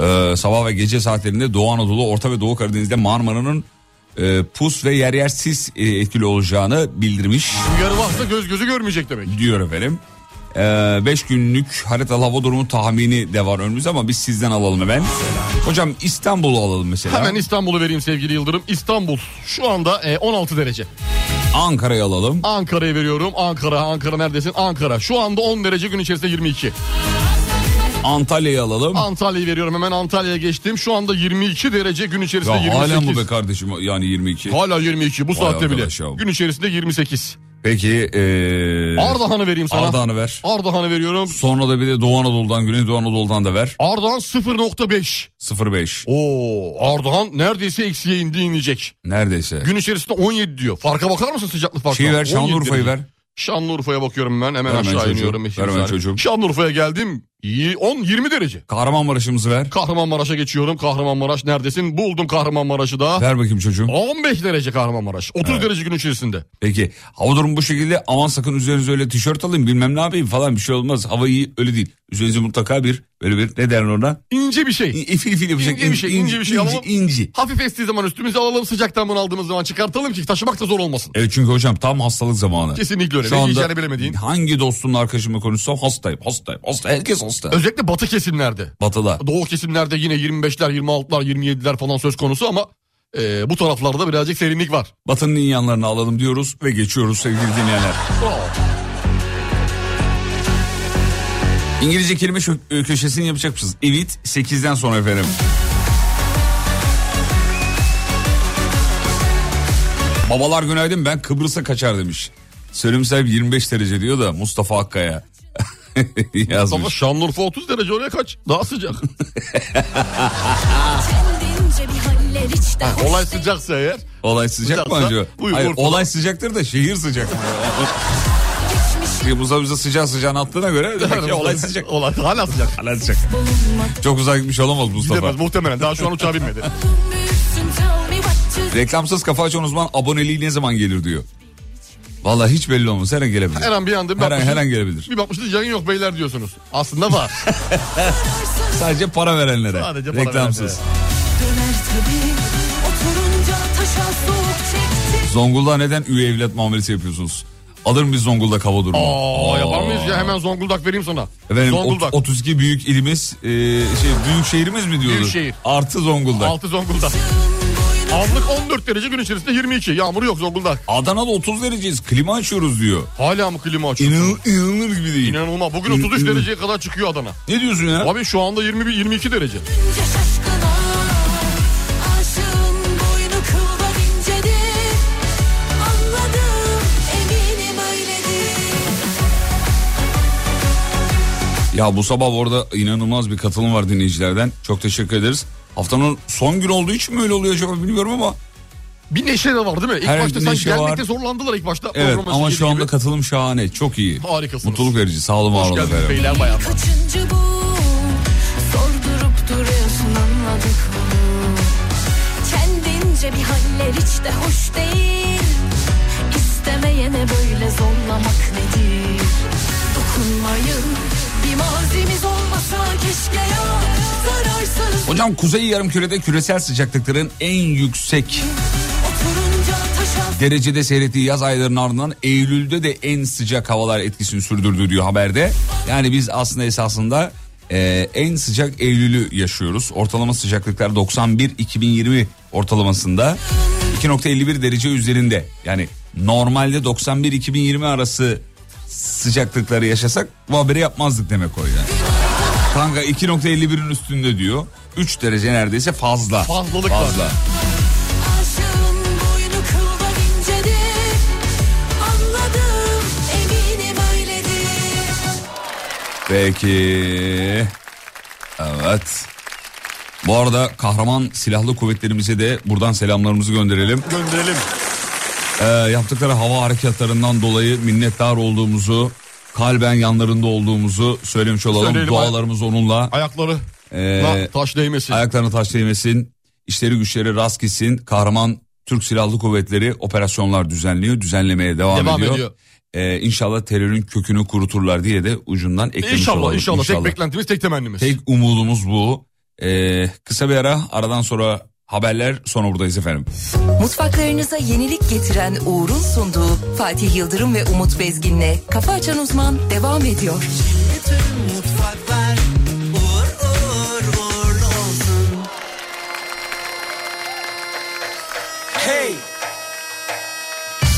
E, sabah ve gece saatlerinde Doğu Anadolu, Orta ve Doğu Karadeniz'de Marmara'nın e, pus ve yer yer sis e, etkili olacağını bildirmiş
Uyarı varsa göz gözü görmeyecek demek.
diyor efendim. 5 günlük haritalı hava durumu tahmini de var önümüzde ama biz sizden alalım hemen. Hocam İstanbul'u alalım mesela.
Hemen İstanbul'u vereyim sevgili Yıldırım. İstanbul şu anda e, 16 derece.
Ankara'yı alalım.
Ankara'yı veriyorum. Ankara, Ankara neredesin? Ankara. Şu anda 10 derece gün içerisinde 22.
Antalya'yı alalım.
Antalya'yı veriyorum hemen Antalya'ya geçtim. Şu anda 22 derece gün
Ya
içerisinde
hala
28.
mı be kardeşim yani 22?
Hala 22 bu saatte bile.
arkadaş ya.
Gün içerisinde 28.
Peki ee,
Ardahan'ı vereyim sana.
Ardahan'ı ver.
Ardahan'ı veriyorum.
Sonra da bir de Doğu Anadolu'dan Güneydoğu Anadolu'dan da ver.
Ardahan 0.5.
05.
Oo Ardahan neredeyse eksiye indi inecek.
Neredeyse.
Gün içerisinde 17 diyor. Farka bakar mısın sıcaklık farkına?
Şeyi ver
17
Şanlıurfa'yı
derece.
ver.
Şanlıurfa'ya bakıyorum ben. Hemen
Ver hemen
aşağı
çocuğum,
iniyorum.
ver
Şimdi
hemen
saniye.
çocuğum.
Şanlıurfa'ya geldim. İyi, 10 20 derece.
Kahramanmaraş'ımızı ver.
Kahramanmaraş'a geçiyorum. Kahramanmaraş neredesin? Buldum Kahramanmaraş'ı da.
Ver bakayım çocuğum.
15 derece Kahramanmaraş. 30 derece gün içerisinde.
Peki hava durumu bu şekilde aman sakın üzerinize öyle tişört alayım bilmem ne yapayım falan bir şey olmaz. Hava iyi öyle değil. Üzerinize mutlaka bir böyle bir ne derler ona?
İnce bir şey.
İ- İfil ifil yapacak.
İnce bir şey, ince bir şey
inci,
alalım.
inci.
Hafif estiği zaman üstümüze alalım sıcaktan bunu aldığımız zaman çıkartalım ki taşımak da zor olmasın.
Evet çünkü hocam tam hastalık zamanı.
Kesinlikle öyle.
Şu
Ne
anda
yiyeceğini bilemediğin.
Hangi dostumla arkadaşımla konuşsam hastayım, hastayım, hasta. Herkes hasta.
Özellikle batı kesimlerde.
Batı'da.
Doğu kesimlerde yine 25'ler, 26'lar, 27'ler falan söz konusu ama e, bu taraflarda birazcık serinlik var.
Batı'nın iyi yanlarını alalım diyoruz ve geçiyoruz sevgili dinleyenler. İngilizce kelime şö- e, köşesini yapacak mısınız? Evet 8'den sonra efendim. Babalar günaydın ben Kıbrıs'a kaçar demiş. Sölüm sahibi 25 derece diyor da Mustafa Akkaya *laughs*
Ama
yazmış.
Şanlıurfa 30 derece oraya kaç.
*laughs*
Daha sıcak. Olay sıcaksa eğer.
Olay sıcak mı
Sıcaksa
acaba?
buyur,
Hayır,
buyur.
olay sıcaktır da şehir sıcak mı? Kıbrıs'a bize sıcağı sıcağına attığına göre demek ki olay sıcak.
Olay hala sıcak.
Hala sıcak. Çok uzağa gitmiş olamaz Mustafa.
Gidemez muhtemelen. Daha şu an uçağa binmedi.
Reklamsız kafa açan uzman aboneliği ne zaman gelir diyor. Vallahi hiç belli olmaz. Her an gelebilir.
Her an bir anda bir
her an, her
bakmışsınız-
an gelebilir.
Bir bakmışsınız yayın yok beyler diyorsunuz. Aslında var.
Sadece para verenlere.
Sadece para
Reklamsız.
verenlere.
Döner tabii Oturunca taşa soğuk çekti
Zonguldak'a neden üye evlat muamelesi yapıyorsunuz? Alırım bir Zonguldak hava durumu.
Aa,
Aa.
yapar mıyız ya? Hemen Zonguldak vereyim sana.
Efendim, ot-
Zonguldak.
32 büyük ilimiz, e, şey büyük şehrimiz mi diyoruz?
Büyük şehir.
Artı Zonguldak.
Altı Zonguldak. Anlık 14 derece gün içerisinde 22. Yağmur yok Zonguldak.
Adana'da 30 dereceyiz. Klima açıyoruz diyor.
Hala mı klima açıyor?
İnanılır, inanılır gibi değil.
İnanılmaz. Bugün 33 dereceye kadar çıkıyor Adana.
ne diyorsun ya?
Abi şu anda 21 22 derece.
Önce şaşkına Aşığın boynu kıldan incedi Anladım eminim öyledir
Ya bu sabah orada inanılmaz bir katılım var dinleyicilerden. Çok teşekkür ederiz. Haftanın son gün olduğu için mi öyle oluyor acaba bilmiyorum ama.
Bir neşe de var değil mi? İlk
Her
başta
bir
sanki
neşe var.
gelmekte zorlandılar ilk başta.
Evet
Programın
ama
şeyi
şu anda
gibi.
katılım şahane. Çok iyi.
Harikasınız.
Mutluluk verici. Sağ olun var
Hoş
olun
geldiniz
efendim.
beyler bayanlar.
Kaçıncı bu Sordurup duruyorsun anladık onu Kendince bir haller hiç de hoş değil İstemeyene böyle zorlamak nedir Dokunmayın bir mazimiz olmasa keşke ya Zararsız
Hocam kuzey yarımkürede küresel sıcaklıkların en yüksek
oturunca taşa
derecede seyrettiği yaz aylarının ardından Eylül'de de en sıcak havalar etkisini sürdürdü diyor haberde. Yani biz aslında esasında e, en sıcak Eylül'ü yaşıyoruz. Ortalama sıcaklıklar 91-2020 ortalamasında 2.51 derece üzerinde. Yani normalde 91-2020 arası sıcaklıkları yaşasak bu haberi yapmazdık demek o yani. Kanka 2.51'in üstünde diyor. 3 derece neredeyse fazla.
Fazlalık var.
fazla.
Aşığın boynu kıldan incedi Anladım eminim öyledir
Peki. Evet. Bu arada kahraman silahlı kuvvetlerimize de buradan selamlarımızı gönderelim.
Gönderelim.
Ee, yaptıkları hava harekatlarından dolayı minnettar olduğumuzu, kalben yanlarında olduğumuzu söylemiş olalım.
Söyleyelim.
Dualarımız onunla.
Ayakları.
Ee,
la- taş değmesin.
ayaklarını taş değmesin, işleri güçleri rast gitsin. Kahraman Türk Silahlı Kuvvetleri operasyonlar düzenliyor, düzenlemeye devam,
Devam
ediyor. Ee,
ediyor.
inşallah terörün kökünü kuruturlar diye de ucundan eklemiş
İnşallah,
olalım.
inşallah Tek beklentimiz, tek temennimiz.
Tek umudumuz bu. Ee, kısa bir ara aradan sonra haberler sonra buradayız efendim.
Mutfaklarınıza yenilik getiren Uğur'un sunduğu Fatih Yıldırım ve Umut Bezgin'le Kafa Açan Uzman devam ediyor.
Mutfaklar uğur uğur uğurlu olsun. Hey!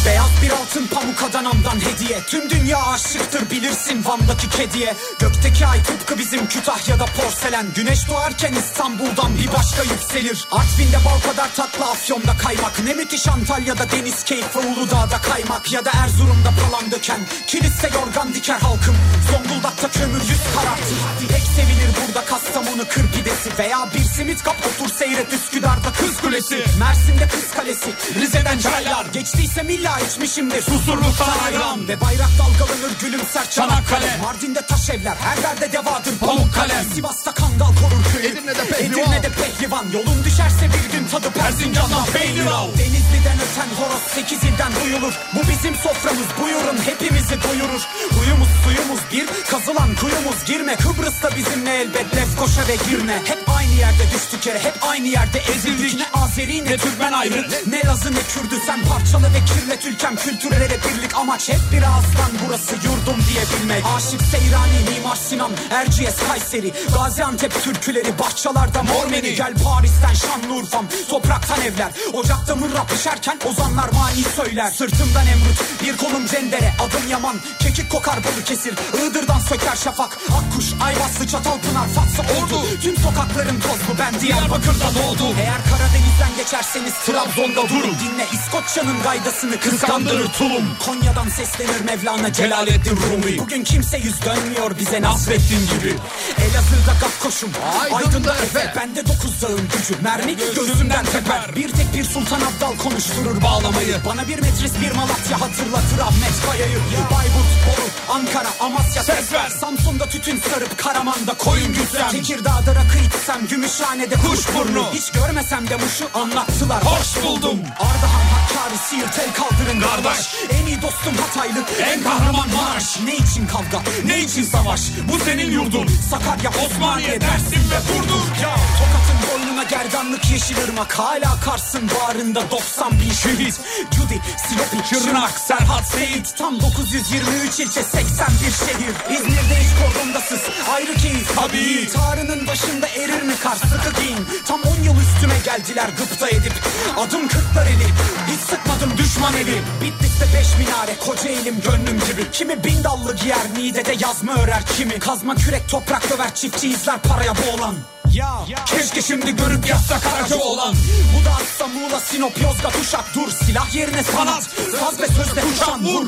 Beyaz bir altın pamuk Adana'mdan hediye Tüm dünya aşıktır bilirsin Van'daki kediye Gökteki ay tıpkı bizim Kütahya'da porselen Güneş doğarken İstanbul'dan bir başka yükselir Artvin'de bal kadar tatlı Afyon'da kaymak Ne müthiş Antalya'da deniz keyfi Uludağ'da kaymak Ya da Erzurum'da palan döken Kiliste yorgan diker halkım Zonguldak'ta kömür yüz karartır Pek sevilir burada Kastamonu kır pidesi Veya bir simit kap otur seyret Üsküdar'da kız kulesi Mersin'de kız kalesi Rize'den çaylar Geçtiyse illa içmişimdir Susurlukta ayran Ve bayrak dalgalanır gülümser Çanakkale Mardin'de taş evler Her yerde devadır pamuk kalem Sivas'ta kangal korur köyü
Edirne'de pehlivan.
Edirne'de pehlivan Yolun düşerse bir gün tadı Persincan'dan peynirav Denizli'den öten horoz sekiz ilden duyulur Bu bizim soframız buyurun hepimizi doyurur Huyumuz suyumuz bir kazılan kuyumuz Girme Kıbrıs'ta bizimle elbet Lefkoşa ve Girne Hep aynı yerde düştük yere hep aynı yerde ezildik Ne Azeri ne Türkmen ayrı Ne Lazı ne Kürdü sen parçalı ve kirlet ülkem Kültürlere birlik amaç hep bir ağızdan burası yurdum diyebilmek Aşık Seyrani, Mimar Sinan, Erciyes Kayseri Gaziantep türküleri bahçalarda Mormeni Gel Paris'ten Şanlıurfa'm topraktan evler Ocakta mırra pişerken ozanlar mani söyler Sırtımdan Emrut bir kolum cendere adım Yaman Kekik kokar Balıkesir Iğdır'dan söker şafak Akkuş Ayvaslı Çatalpınar Fatsa Ordu Tüm sokakların tozlu ben Diyarbakır'da doğdum Eğer Karadeniz'den geçerseniz Trabzon'da durun Dinle İskoçya'nın gaydasını kıskandırır tulum Konya'dan seslenir Mevlana Celaleddin Rumi Bugün kimse yüz dönmüyor bize Nasreddin gibi Elazığ'da Gakkoş'um Aydın'da Efe Bende dokuz dağın gücü Mermi gözümden teper Bir tek bir Sultan Abdal konuşturur bağlamayı Bana bir metris bir Malatya hatırlatır Ahmet Kaya'yı Bayburt, Bolu, Ankara, Amasya Ses ver Samsun'da tütün sarıp Karaman'da koyun güzel Tekirdağ'da rakı içsem Görsem gümüşhanede kuşburnu Hiç görmesem de muşu anlattılar
Hoş buldum.
Ardahan Hakkari Siirt el kaldırın kardeş En iyi dostum Hataylı
En kahraman Maraş.
Ne için kavga ne için savaş Bu senin yurdun Sakarya Osmaniye Dersim ve Burdur ya Tokat'ın boynuna gerdanlık yeşil ırmak Hala Kars'ın bağrında 90 bin şehit Cudi, Silopi, Şırnak, Serhat, Seyit Tam 923 ilçe 81 şehir İzmir'de hiç kordondasız ayrı keyif Tabii Tarının başında erir mi kar sıkı giyin Tam 10 yıl üstüme geldiler gıpta edip Adım kırklar eli hiç sıkmadım düşman eli Bitlis'te beş minare koca elim gönlüm gibi Kimi bin dallı giyer Niğde'de yazma örer kimi Kazma kürek toprak döver çiftçi izler paraya boğulan ya, keşke şimdi görüp yatsa karaca olan Bu da atsa Muğla, Sinop, Yozgat, Uşak dur Silah yerine sanat, saz ve sözle kuşan vur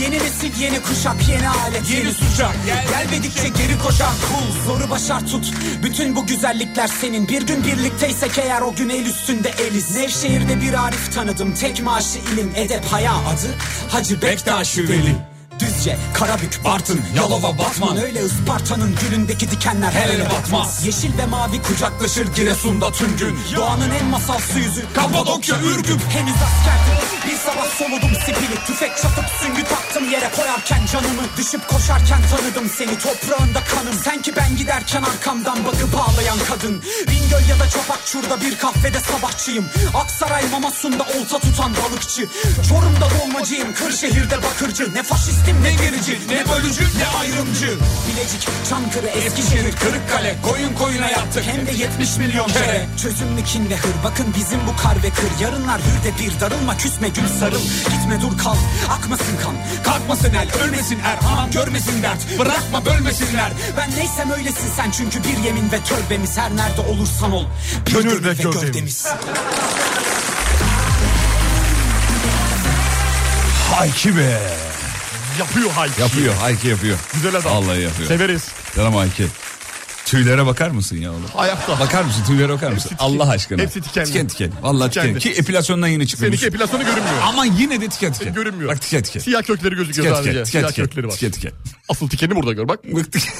Yeni nesil yeni kuşak yeni alet yeni suçak şey. Gelmedikçe geri koşan kul Zoru başar tut bütün bu güzellikler senin Bir gün birlikteysek eğer o gün el üstünde eliz Nevşehir'de bir Arif tanıdım Tek maaşı ilim edep haya adı Hacı Bektaş Veli Düzce, Karabük, Bartın, Yalova, Batman Öyle Isparta'nın gülündeki dikenler her ele batmaz Yeşil ve mavi kucaklaşır Giresun'da tüm gün Doğanın en masalsı yüzü Kapadokya, Ürgüp Henüz askerdim bir sabah soludum sipili Tüfek çatıp süngü taktım yere koyarken canımı Düşüp koşarken tanıdım seni toprağında kanım Sen ki ben giderken arkamdan bakıp ağlayan kadın Bingöl ya da Çapakçur'da bir kahvede sabahçıyım Aksaray mamasunda olta tutan balıkçı Çorum'da dolmacıyım Kırşehir'de bakırcı Ne faşistim ne gerici ne bölücü ne ayrımcı Bilecik, Çankırı, Eskişehir, Kırıkkale Koyun koyuna yattık hem de 70 milyon kere Çözümlü kin ve hır bakın bizim bu kar ve kır Yarınlar hür de bir darılma küsme gül sarıl Gitme dur kal akmasın kan Kalkmasın el ölmesin er aman görmesin dert Bırakma bölmesinler Ben neysem öylesin sen çünkü bir yemin ve tövbemiz Her nerede olursan ol bir gönül ve gövdemiz
Hayki be.
Yapıyor hayki.
Yapıyor hayki yapıyor.
Güzel adam.
Vallahi yapıyor.
Severiz.
Canım hayki. Tüylere bakar mısın ya oğlum?
Ayakta.
Bakar mısın tüylere bakar mısın?
tiken.
Allah aşkına.
Hepsi tikenli.
Tiken tiken. Vallahi tiken.
Tikenli.
Ki epilasyondan yeni çıkmış.
Seninki epilasyonu görünmüyor.
Ama yine de tiken tiken.
Görünmüyor.
Bak tiken tiken.
Siyah kökleri gözüküyor
Tiken
sadece.
tiken. Tiken
Siyah
tiken.
kökleri var.
Tiken tiken.
Asıl tikeni burada gör bak.
Bak tiken.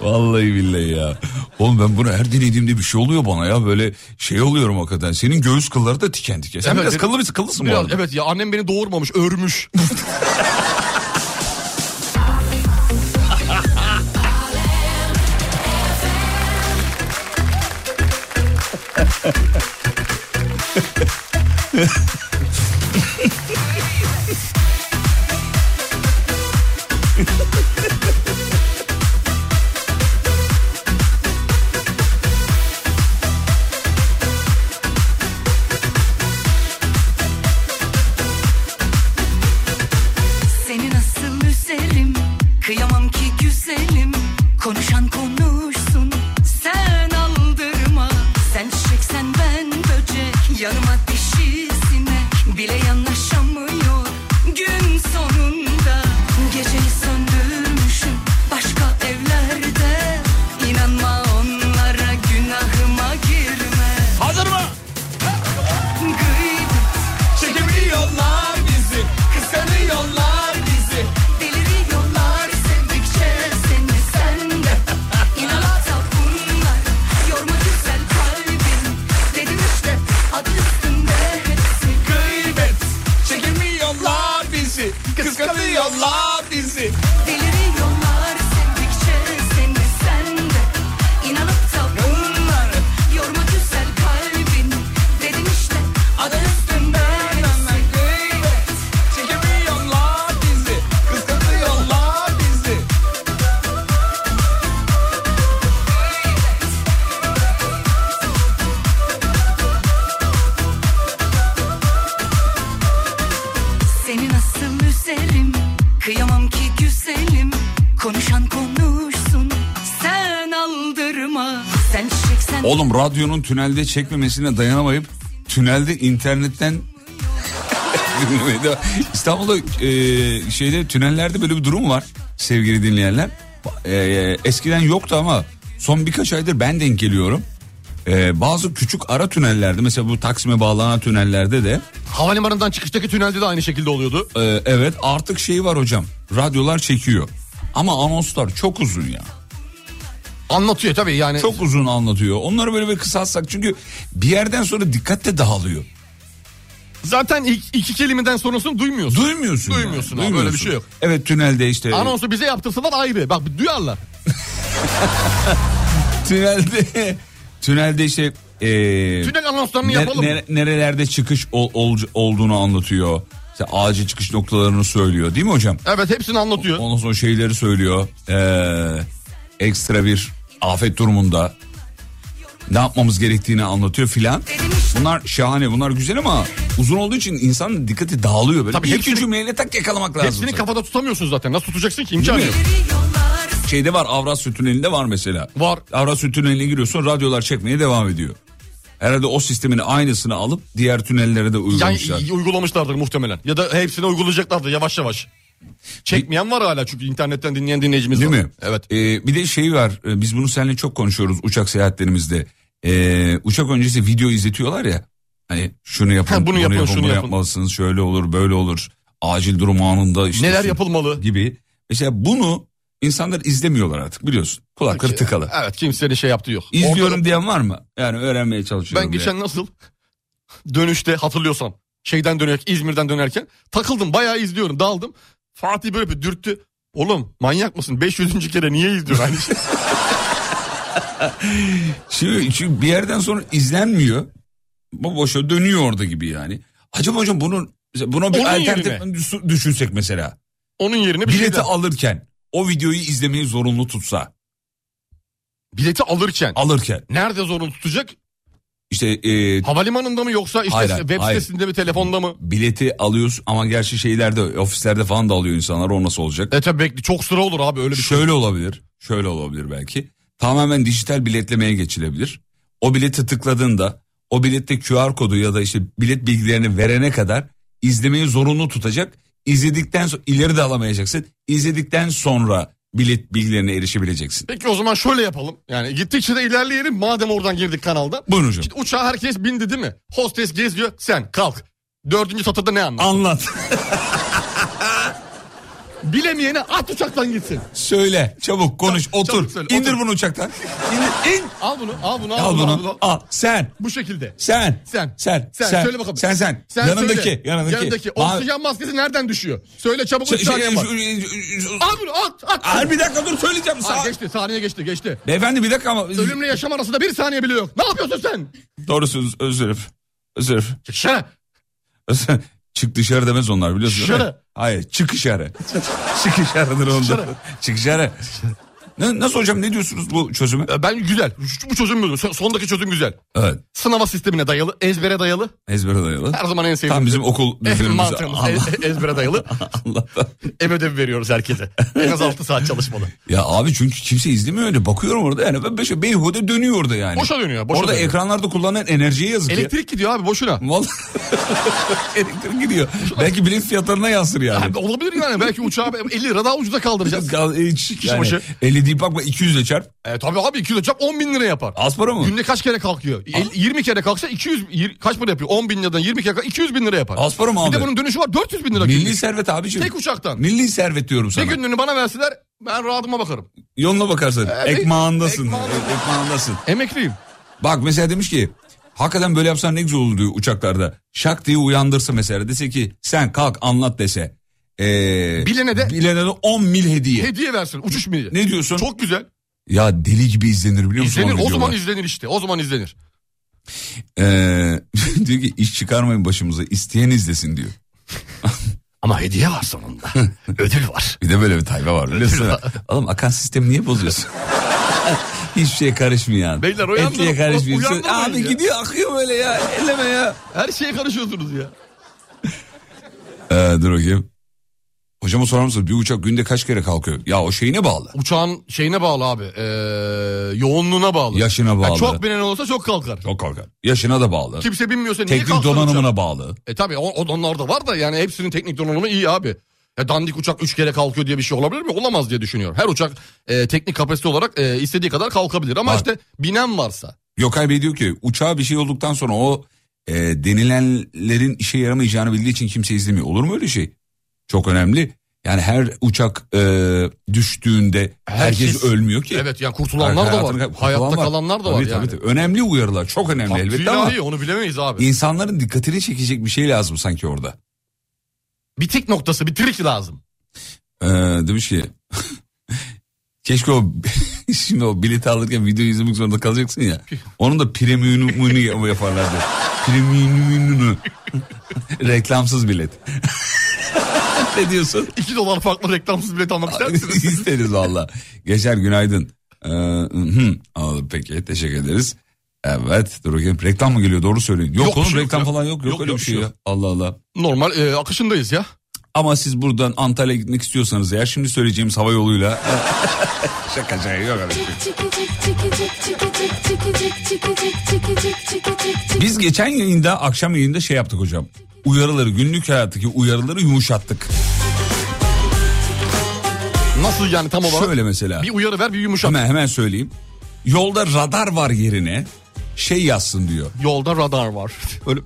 Vallahi billahi ya. Oğlum ben bunu her dinlediğimde bir şey oluyor bana ya. Böyle şey oluyorum hakikaten. Senin göğüs kılları da tiken tiken. Sen
Evet,
biraz
evet.
kıllı mısın? Kıllısın bu
Biraz-
arada.
evet ya annem beni doğurmamış örmüş.
Seni nasıl üzerim Kıyamam ki güzelim Konuşan konuşsun Sen aldırma Sen çiçek sen ben böcek Yanıma dişi sinek Bile yanaşamıyor Gün sonunda Geceyi söndürmüşüm Başka evlerde İnanma onlara Günahıma girme
Hazır mı?
Gıybet
Çekemiyorlar bizi. Kıskanıyorlar bizi.
Deliriyorlar sevdikçe seni sende İnanata bunlar yorma güzel kalbim Dedim işte adı üstünde hepsi
Gıybet. Çekemiyorlar bizi. Kıskanıyorlar bizi.
Deliriyorlar sevdikçe seni sende İnanata bunlar yorma güzel kalbim Dedim işte adı üstünde hepsi
Gıybet. Çekemiyorlar bizi. Kıskanıyorlar bizi.
Seni nasıl üzerim Kıyamam ki güzelim Konuşan konuşsun Sen aldırma Sen çiçek sen
Oğlum radyonun tünelde çekmemesine dayanamayıp tünelde internetten *laughs* dinlemeye devam- İstanbul'da e, şeyde tünellerde böyle bir durum var sevgili dinleyenler. E, eskiden yoktu ama son birkaç aydır ben denk geliyorum. E, bazı küçük ara tünellerde mesela bu Taksim'e bağlanan tünellerde de
Havalimanından çıkıştaki tünelde de aynı şekilde oluyordu.
e, evet artık şey var hocam radyolar çekiyor. Ama anonslar çok uzun ya.
Anlatıyor tabii yani.
Çok uzun anlatıyor. Onları böyle bir kısaltsak çünkü bir yerden sonra dikkat de dağılıyor.
Zaten ilk iki kelimeden sonrasını duymuyorsun.
Duymuyorsun.
Duymuyorsun
yani,
abi, böyle bir şey yok.
Evet tünelde işte.
Anonsu bize yaptırsalar ayrı. Bak duyarlar.
Tünelde *laughs* tünelde işte e,
Tünel anonslarını
ne-
yapalım.
nere- nerelerde çıkış ol- ol- olduğunu anlatıyor. İşte acil çıkış noktalarını söylüyor değil mi hocam?
Evet hepsini anlatıyor.
Ondan sonra şeyleri söylüyor. E, ekstra bir afet durumunda ne yapmamız gerektiğini anlatıyor filan. Bunlar şahane bunlar güzel ama uzun olduğu için insanın dikkati dağılıyor. Böyle
Tabii
bir
hepsini-
iki cümleyle tak yakalamak lazım.
Hepsini
sana.
kafada tutamıyorsun zaten. Nasıl tutacaksın ki? İmkan
Değil
yok.
mi? Şeyde var Avrasya Tüneli'nde var mesela.
Var.
Avrasya Tüneli'ne giriyorsun radyolar çekmeye devam ediyor. Herhalde o sistemin aynısını alıp diğer tünellere de
Yani
uygulamışlar.
i- uygulamışlardır muhtemelen. Ya da hepsini uygulayacaklardır yavaş yavaş. Çekmeyen var hala çünkü internetten dinleyen dinleyicimiz
Değil
var.
mi?
Evet.
Ee, bir de şey var e, biz bunu seninle çok konuşuyoruz uçak seyahatlerimizde. Ee, uçak öncesi video izletiyorlar ya. Hani şunu yapın,
Ha, bunu
bunu,
yapın,
yapın,
şunu
bunu
yapın.
yapmalısınız, şöyle olur, böyle olur. Acil durum anında işte
Neler
şu-
yapılmalı?
gibi. Mesela bunu insanlar izlemiyorlar artık biliyorsun. Kulakları tıkalı.
Evet kimsenin şey yaptığı yok.
İzliyorum
Orada-
diyen var mı? Yani öğrenmeye çalışıyorum.
ben
diye.
geçen nasıl dönüşte hatırlıyorsan şeyden dönerken İzmir'den dönerken takıldım bayağı izliyorum daldım. Fatih böyle bir dürttü. Oğlum manyak mısın? 500. kere niye izliyorsun Hani aynı
*laughs*
şeyi?
Şimdi, çünkü bir yerden sonra izlenmiyor. Bu boşa dönüyor orada gibi yani. Acaba hocam bunun buna bir
Onun
alternatif
yerine.
düş- düşünsek mesela.
Onun yerine bir şey
Bileti
de-
alırken o videoyu izlemeyi zorunlu tutsa
bileti alırken
alırken
nerede zorunlu tutacak?
işte e,
Havalimanında mı yoksa işte
Hayır,
web
hayır.
sitesinde mi telefonda mı?
bileti alıyorsun ama gerçi şeylerde ofislerde falan da alıyor insanlar o nasıl olacak?
E tabii bekle çok sıra olur abi öyle bir şey.
Şöyle olabilir şöyle olabilir belki tamamen dijital biletlemeye geçilebilir. O bileti tıkladığında o bilette QR kodu ya da işte bilet bilgilerini verene kadar izlemeyi zorunlu tutacak. İzledikten sonra ileri de alamayacaksın. İzledikten sonra bilet bilgilerine erişebileceksin.
Peki o zaman şöyle yapalım. Yani gittikçe de ilerleyelim madem oradan girdik kanalda.
Buyurun hocam.
Şimdi uçağa herkes bindi değil mi? Hostes geziyor sen kalk. Dördüncü satırda ne anlar?
Anlat. *laughs*
Bilemeyene at uçaktan gitsin.
Söyle çabuk konuş
Çabuk
otur.
söyle,
İndir
otur.
bunu uçaktan. İndir, in.
Al bunu al bunu al,
Al
bunu, al bunu.
bunu. Al sen.
Bu şekilde.
Sen.
Sen.
Sen.
Sen. Söyle bakalım.
Sen sen.
Sen
yanındaki.
söyle.
Yanındaki.
O
Mavi-
Oksijen maskesi nereden düşüyor? Söyle çabuk
Şey-
üç saniye
şey-
var.
şu- şu-
Al bunu at at.
Ay, bir dakika dur söyleyeceğim.
Aa,
Sağ...
geçti saniye geçti geçti.
Beyefendi bir dakika ama.
Ölümle yaşam arasında bir saniye bile yok. Ne yapıyorsun sen?
Doğru söz özür dilerim. Özür dilerim.
Çık dışarı.
Özür dilerim. *laughs* Çık dışarı demez onlar biliyorsun. değil mi?
Dışarı.
Hayır çık
*laughs*
dışarı. çık dışarıdır onda. Çık dışarı. Ne- Nasıl hocam ne diyorsunuz bu çözüme?
E, Ben güzel. Şu- Bu çözüm güzel. Son- Sondaki çözüm güzel.
Evet
Sınava sistemine dayalı, ezbere dayalı.
ezbere dayalı.
Her zaman en sevdiğim.
Tam bizim okul
Eh,
düzenimiz.
mantığımız
Allah,
e- e- ezbere dayalı.
Allah.
Ev ödevi veriyoruz herkese. En az 6 saat çalışmalı.
Ya abi çünkü kimse izlemiyor öyle. Bakıyorum orada yani ben beşe beyhude dönüyor orada yani.
Boşa dönüyor, boşa
orada
dönüyor.
ekranlarda kullanılan enerjiye yazık ya.
Elektrik gidiyor abi boşuna.
Vallahi *laughs* elektrik gidiyor. Belki bilet fiyatlarına yansır yani.
Abi *laughs* olabilir yani. Belki uçağı 50 lira daha ucuza kaldıracağız.
Hiç yani,
e, başı.
50 değil bakma 200 ile çarp.
E, tabii abi 200 uçak 10 bin lira yapar.
Az para mı?
Günde kaç kere kalkıyor? El- 20 kere kalksa 200 yir- kaç para yapıyor? 10 bin liradan 20 kere kalk- 200 bin lira yapar.
Az para mı
Bir
abi?
de bunun dönüşü var 400 bin lira.
Milli
günlük.
servet abiciğim.
Tek uçaktan.
Milli servet diyorum sana.
Bir günlüğünü bana verseler ben rahatıma bakarım.
Yoluna bakarsın.
E, bir-
ekmağındasın.
ekmağında-
E- ekmağındasın.
Emekliyim.
Bak mesela demiş ki hakikaten böyle yapsan ne güzel olur diyor uçaklarda. Şak diye uyandırsa mesela dese ki sen kalk anlat dese. Ee,
Bilene de-
Bilene de 10 mil hediye.
Hediye versin uçuş mili.
ne diyorsun?
Çok güzel.
Ya deli gibi izlenir biliyor musun?
İzlenir. O
videolar?
zaman izlenir işte. O zaman izlenir.
Ee, E, *laughs* diyor ki iş çıkarmayın başımıza isteyen izlesin diyor.
Ama hediye var sonunda. *laughs* Ödül var.
Bir de böyle bir tayfa var biliyorsun.
*laughs*
değil mi? Oğlum akan sistemi niye bozuyorsun? Hiçbir şeye karışmayan.
Beyler, uyandırın-
Etliye karışmayan.
uyandırmayın
Abi
ya.
gidiyor akıyor böyle ya. Elleme ya.
Her şeye karışıyorsunuz ya.
Ee, dur bakayım. Hocama sorar mısın bir uçak günde kaç kere kalkıyor? Ya o şeyine bağlı.
Uçağın şeyine bağlı abi. Ee, yoğunluğuna bağlı.
Yaşına
Yani
bağlı.
çok binen olursa çok kalkar.
Çok kalkar. Yaşına da bağlı.
Kimse binmiyorsa niye
Teknik
kalksın
donanımına
uçak?
bağlı.
E tabi o, o- onlar da var da yani hepsinin teknik donanımı iyi abi. Ya dandik uçak 3 kere kalkıyor diye bir şey olabilir mi? Olamaz diye düşünüyorum. Her uçak e, teknik kapasite olarak e, istediği kadar kalkabilir. Ama
Var.
işte binen varsa.
Gökay Bey diyor ki uçağa bir şey olduktan sonra o e, denilenlerin işe yaramayacağını bildiği için kimse izlemiyor. Olur mu öyle şey? Çok önemli. Yani her uçak e, düştüğünde herkes,
Herkes-
ölmüyor ki.
Evet, yani kurtulanlar da var.
Hayatını kay-
Hayatta
kurtulan
kalanlar da var
Tabii,
yani.
tabii, tabii. Önemli uyarılar çok önemli elbette
Fiilen
ama
değil, onu bilemeyiz abi.
insanların dikkatini çekecek bir şey lazım sanki orada.
Bir tik noktası bir trik lazım.
Ee, demiş ki *laughs* keşke o *laughs* şimdi o bileti alırken video izlemek zorunda kalacaksın
*laughs*
ya. Onun da premiumunu yaparlardı. Premiumunu. *laughs* Reklamsız bilet. *laughs* ne diyorsun?
2 dolar farklı reklamsız bilet almak ister
*laughs*
misiniz?
İsteriz valla. Geçer günaydın. Ee, hı, anladım peki teşekkür ederiz. Evet dur bakayım reklam mı geliyor doğru söyleyin. Yok,
Yok,
oğlum
bir şey yok
reklam
ya.
falan yok yok,
Yok,
öyle
yok,
bir
bir
şey
şey
ya.
yok.
Allah Allah.
Normal e, akışındayız ya.
Ama siz buradan Antalya'ya gitmek istiyorsanız eğer şimdi söyleyeceğimiz hava yoluyla. *laughs* Şaka şaka yok öyle bir şey. Biz geçen yayında akşam yayında şey yaptık hocam. Uyarıları günlük hayattaki uyarıları yumuşattık.
Nasıl yani tam olarak?
Şöyle mesela.
Bir uyarı ver bir yumuşak.
Hemen hemen söyleyeyim. Yolda radar var yerine şey yazsın diyor.
Yolda
*laughs*
radar var. Öyle,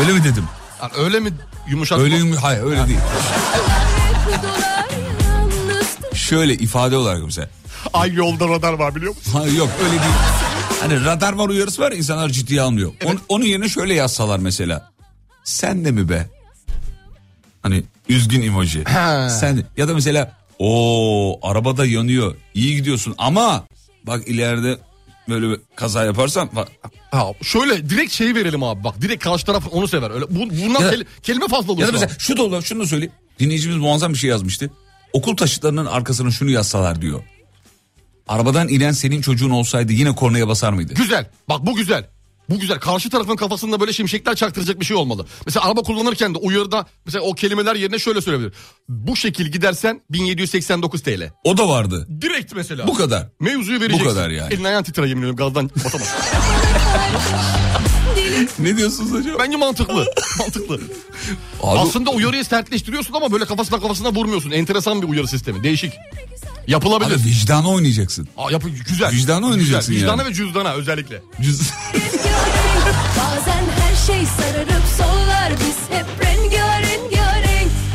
Öyle mi dedim?
Yani öyle mi yumuşak?
Öyle mi? Hayır öyle değil. Şöyle ifade olarak mesela.
*laughs* Ay yolda radar var biliyor musun?
Hayır yok öyle değil. Hani radar var uyarısı var ya, insanlar ciddiye almıyor. Onu- onun yerine şöyle yazsalar mesela. Sen de mi be? Hani üzgün emoji.
Ha.
Sen de- ya da mesela o arabada yanıyor. İyi gidiyorsun ama bak ileride böyle bir kaza yaparsan bak
Ha, şöyle direkt şeyi verelim abi bak. Direkt karşı taraf onu sever. Öyle, bu, bundan
Ya da-
kel- kelime fazla olur.
Ya da
şu an.
mesela şu da olur şunu da söyleyeyim. Dinleyicimiz muazzam bir şey yazmıştı. Okul taşıtlarının arkasına şunu yazsalar diyor. Arabadan inen senin çocuğun olsaydı yine kornaya basar mıydı?
Güzel. Bak bu güzel. Bu güzel. Karşı tarafın kafasında böyle şimşekler çaktıracak bir şey olmalı. Mesela araba kullanırken de uyarıda mesela o kelimeler yerine şöyle söyleyebilir. Bu şekil gidersen 1789 TL.
O da vardı.
Direkt mesela.
Bu kadar.
Mevzuyu vereceksin.
kadar yani.
Elin ayağın titrer yemin ediyorum gazdan basamaz.
Ne diyorsunuz acaba?
*laughs* Bence mantıklı.
*laughs*
mantıklı.
Abi,
Aslında uyarıyı sertleştiriyorsun ama böyle kafasına kafasına vurmuyorsun. Enteresan bir uyarı sistemi. Değişik. Yapılabilir.
abi vicdana oynayacaksın.
Aa, yapı güzel.
Vicdana oynayacaksın
güzel. Vicdana
yani.
ve cüzdana özellikle.
Cüz-
Bazen her şey sararıp sollar Biz hep rengarenk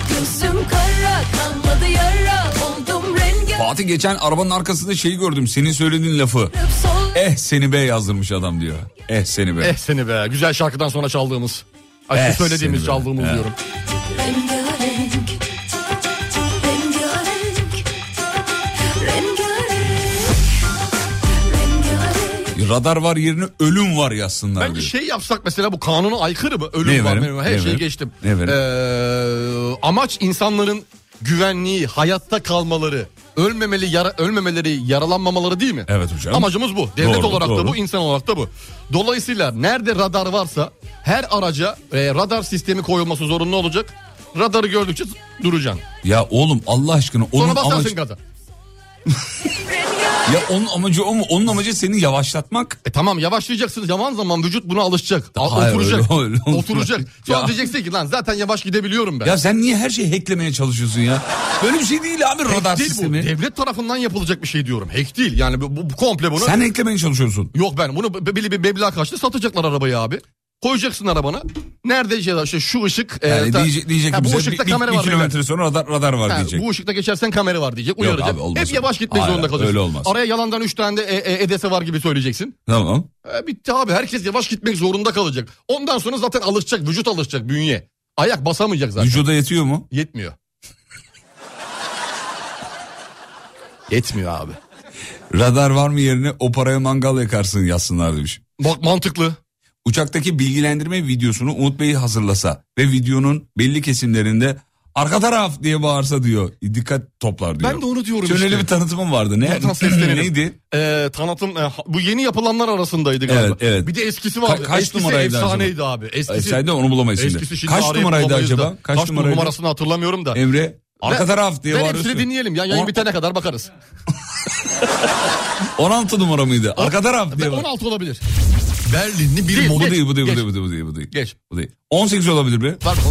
Gözüm kara kalmadı yara Oldum rengarenk
Fatih geçen arabanın arkasında şeyi gördüm. Senin söylediğin lafı.
sollar
Eh seni be yazdırmış adam diyor. Eh seni be.
Eh seni be. Güzel şarkıdan sonra çaldığımız. Ay,
Eh
şu söylediğimiz
seni be.
çaldığımız
Eh.
diyorum.
Rengarenk Rengarenk Rengarenk Rengarenk
Radar var yerine ölüm var yazsınlar
Bence
diyor.
şey yapsak mesela bu kanuna aykırı mı? Ölüm
Ne
var.
verim?
benim var. Her
Ne
şeyi
verim?
geçtim.
Ne verim?
Ee, amaç insanların güvenliği, hayatta kalmaları, ölmemeli, yara, ölmemeleri, yaralanmamaları değil mi?
Evet hocam.
Amacımız bu. Devlet
Doğru,
olarak
doğru.
da bu, insan olarak da bu. Dolayısıyla nerede radar varsa her araca e, radar sistemi koyulması zorunlu olacak. Radarı gördükçe duracaksın.
Ya oğlum Allah aşkına onun
Sonra basarsın
amacı...
gaza.
Ya onun amacı o mu? Onun amacı seni yavaşlatmak.
E tamam yavaşlayacaksınız. Zaman zaman vücut buna alışacak. A-
Hayır,
oturacak.
öyle- öyle olmaz.
oturacak. Sonra
Ya.
diyeceksin ki lan zaten yavaş gidebiliyorum ben.
Ya sen niye her şeyi hacklemeye çalışıyorsun ya? Böyle bir şey değil abi radar
Hack değil
sistemi.
bu. Devlet tarafından yapılacak bir şey diyorum. Hack değil. Yani bu, bu komple bunu.
Sen hacklemeye çalışıyorsun.
Yok ben bunu belli bir meblağ karşılığı satacaklar arabayı abi. Koyacaksın arabana. Nerede işte, işte şu ışık. e,
Yani
ta-
diyecek, diyecek
Ha,
ki
bu
bize
ışıkta
bir, bir-
kamera
bir
var. beyler.
kilometre sonra radar, radar var
Ha,
diyecek.
bu ışıkta geçersen kamera var diyecek. Uyaracak.
abi, olmaz
Hep
öyle.
yavaş gitmek
Hayır,
zorunda kalacaksın.
öyle olmaz.
Araya yalandan 3 tane de e, e, EDS var gibi söyleyeceksin.
Tamam.
E, bitti abi herkes yavaş gitmek zorunda kalacak. Ondan sonra zaten alışacak vücut alışacak bünye. Ayak basamayacak zaten.
Vücuda yetiyor mu?
Yetmiyor. Yetmiyor abi.
Radar var mı yerine o paraya mangal yakarsın yazsınlar demiş.
Bak mantıklı.
Uçaktaki bilgilendirme videosunu Umut Bey hazırlasa ve videonun belli kesimlerinde arka taraf diye bağırsa diyor. Dikkat toplar diyor.
Ben de onu diyorum
Şöyle
işte.
bir tanıtımım vardı. Ne?
Buradan seslenelim.
Neydi?
Ee, tanıtım e, ha- bu yeni yapılanlar arasındaydı galiba.
Evet, evet.
Bir de eskisi vardı.
Ka- kaç
eskisi
numaraydı
efsaneydi abi. Eskisi,
Efsane de onu bulamayız şimdi.
eskisi şimdi
Kaç
arayıp
numaraydı
bulamayız
acaba?
Da. Kaç,
numaraydı?
numarasını hatırlamıyorum da.
Emre arka
Ben-
taraf diye
ben
bağırıyorsun.
hepsini dinleyelim ya yayın
On-
bitene
*laughs*
kadar bakarız.
16 numara mıydı? Arka taraf
Ben
diye bağır.
16 olabilir.
Berlinli
Değil,
bir Bu
geç,
değil bu değil bu
geç.
değil bu değil bu değil bu değil.
Geç.
Bu değil. 18 olabilir mi?
Var mı?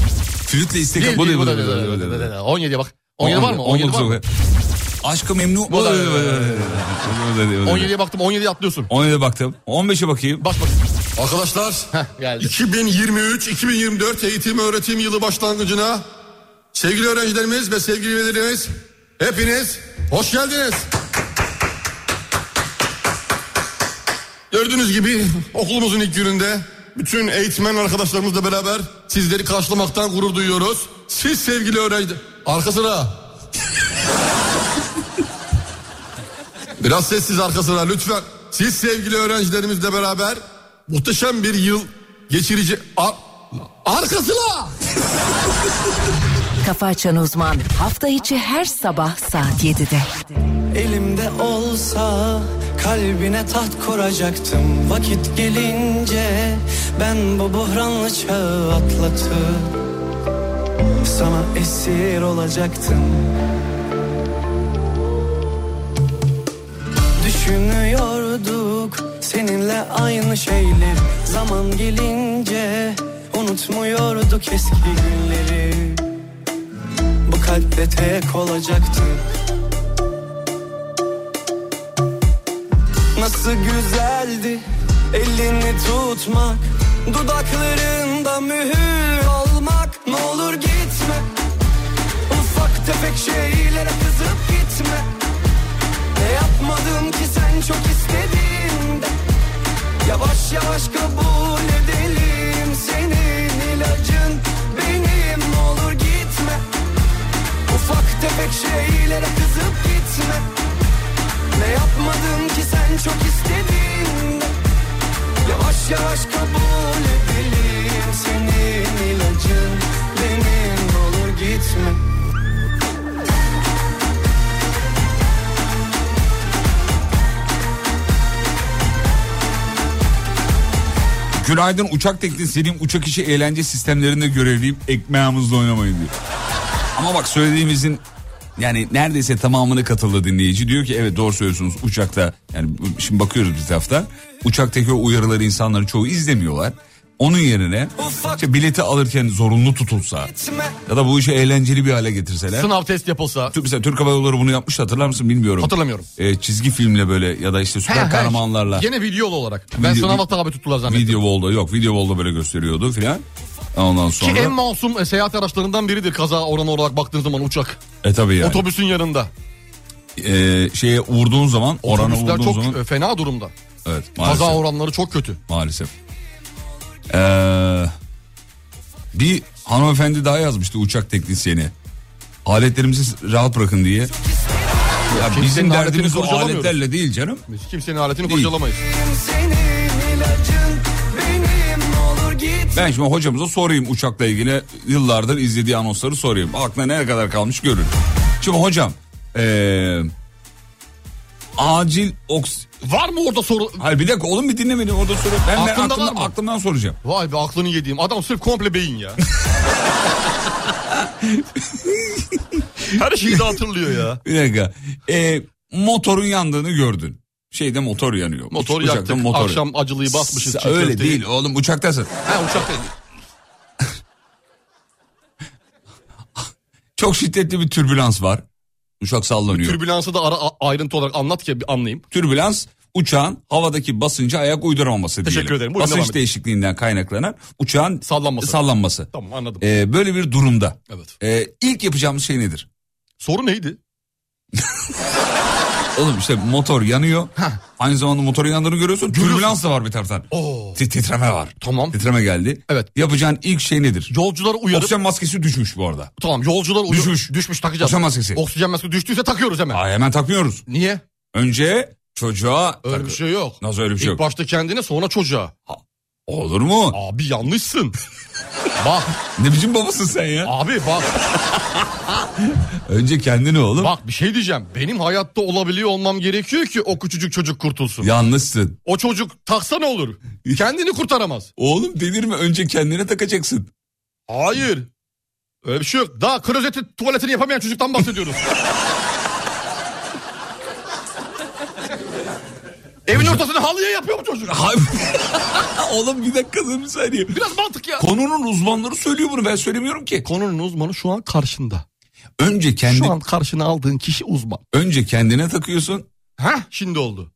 Flütle istek
Değil,
bu değil
değil,
bu
da
değil bu
değil,
değil, bu
da
değil.
değil, da. 17'ye bak. 17 var mı? 17
19
var mı?
olabilir. Aşkı memnu.
Bu da-
17
17'ye baktım 17'ye atlıyorsun.
17 baktım. 15'e bakayım.
Baş bakayım.
Arkadaşlar
Heh, geldi.
2023-2024 eğitim öğretim yılı başlangıcına
Sevgili öğrencilerimiz ve sevgili velilerimiz hepiniz hoş geldiniz. Gördüğünüz gibi okulumuzun ilk gününde bütün eğitmen arkadaşlarımızla beraber sizleri karşılamaktan gurur duyuyoruz. Siz sevgili öğrenci... Arka sıra. Biraz sessiz arka sıra lütfen. Siz sevgili öğrencilerimizle beraber muhteşem bir yıl geçirici... Ar... Arka sıra!
Kafa Açan Uzman hafta içi her sabah saat 7'de.
Elimde olsa kalbine taht kuracaktım Vakit gelince ben bu buhranlı çağı atlatıp Sana esir olacaktım Düşünüyorduk seninle aynı şeyleri Zaman gelince unutmuyorduk eski günleri Bu kalpte tek olacaktık Nasıl güzeldi elini tutmak Dudaklarında mühür olmak Ne olur gitme Ufak tefek şeylere kızıp gitme Ne yapmadım ki sen çok istediğinde Yavaş yavaş kabul edelim Senin ilacın benim Ne olur gitme Ufak tefek şeylere kızıp gitme ne yapmadım ki sen çok istedin Yavaş yavaş kabul edelim Senin ilacın benim olur gitme
Günaydın uçak teknisyeni uçak işi eğlence sistemlerinde görevliyim ekmeğimizle oynamayın diyor. Ama bak söylediğimizin yani neredeyse tamamını katıldı dinleyici. Diyor ki evet doğru söylüyorsunuz uçakta yani bu- şimdi bakıyoruz bir tarafta uçaktaki o uyarıları insanları çoğu izlemiyorlar. Onun yerine işte bileti alırken zorunlu tutulsa ya da bu işi eğlenceli bir hale getirseler.
Sınav
*laughs*
test yapılsa.
Tür- Mesela Türk Hava Yolları bunu yapmış hatırlar mısın bilmiyorum. Hatırlamıyorum. çizgi filmle böyle ya da işte süper kahramanlarla.
Yine videolu olarak. Ben
Video-
sınava tabi tuttular zannettim.
Video Wall'da yok. Video Wall'da böyle gösteriyordu filan. Ondan sonra.
Ki en masum e, seyahat araçlarından biridir kaza oranı olarak baktığın zaman uçak.
E tabii yani.
Otobüsün yanında.
E, şeye vurduğun zaman orana
Otobüsler
vurduğun
çok
zaman.
e, fena durumda.
Evet maalesef.
Kaza oranları çok kötü.
Maalesef. Ee, bir hanımefendi daha yazmıştı uçak teknisyeni. Aletlerimizi rahat bırakın diye. Ya
Kimsenin
bizim
aletini
derdimiz o
kurcalamıyoruz.
aletlerle değil canım.
Biz kimsenin aletini
Değil.
kurcalamayız.
Senin ilacın benim Ne olur gitme
Ben şimdi hocamıza sorayım uçakla ilgili yıllardır izlediği anonsları sorayım. Aklına ne kadar kalmış görün. Şimdi hocam ee, acil oks...
Var mı orada soru?
Hayır bir dakika oğlum bir dinle beni orada soru. Ben, ben
Aklında
aklımda-
var mı?
aklımdan soracağım.
Vay be aklını yediğim. Adam sırf komple
*laughs*
beyin ya. Her şeyi de hatırlıyor ya.
Bir dakika. Ee, motorun yandığını gördün. Şeyde motor yanıyor.
Motor
Uçakta
yaktık. Akşam acılıyı basmışız,
Sa-
çiğ
Öyle
köfteyi.
değil oğlum uçaktasın.
Ha uçakta.
Çok şiddetli bir türbülans var. Uçak sallanıyor.
Türbülansı da ara, a- ayrıntı olarak anlat ki bir anlayayım.
Türbülans uçağın havadaki basınca ayak uyduramaması diyelim.
Teşekkür ederim. Buyurun, devam
Basınç
edin.
değişikliğinden kaynaklanan uçağın sallanması.
Tamam anladım.
Ee, böyle bir durumda
Evet.
ee, ilk yapacağımız şey nedir?
Soru neydi?
Oğlum işte motor yanıyor. Aynı zamanda motorun yandığını görüyorsun. Türbülans da var bir taraftan.
Oo.
Ti- Titreme var.
Tamam.
Titreme geldi.
Evet.
Yapacağın ilk şey nedir?
Yolcuları uyarıp...
Oksijen maskesi düşmüş bu arada.
Tamam yolcular uyu-
Düşmüş.
Düşmüş takacağız.
Oksijen maskesi.
Oksijen maskesi düştüyse takıyoruz hemen.
Aa, hemen takmıyoruz.
Niye?
Önce çocuğa
Öyle bir şey yok.
Nasıl öyle bir şey
İlk
yok?
başta kendine sonra çocuğa.
Olur mu?
Abi
*laughs*
yanlışsın. bak.
Ne biçim babasın sen ya?
Abi bak.
Önce kendini oğlum.
Bak bir şey diyeceğim. Benim hayatta olabiliyor olmam gerekiyor ki o küçücük
*laughs*
çocuk kurtulsun.
Yanlışsın.
O çocuk taksa
*laughs*
ne olur? Kendini kurtaramaz.
Oğlum delirme önce kendine takacaksın.
Hayır. Öyle bir şey yok. Daha klozeti tuvaletini yapamayan
*laughs*
çocuktan bahsediyoruz. Evin ortasını halıya yapıyor mu çocuk?
*laughs* oğlum bir dakika dur bir saniye.
Biraz mantık ya.
Konunun uzmanları söylüyor bunu ben söylemiyorum ki.
Konunun uzmanı şu an karşında.
Önce kendi
Şu an karşına aldığın kişi uzman.
önce kendine takıyorsun.
Ha şimdi oldu.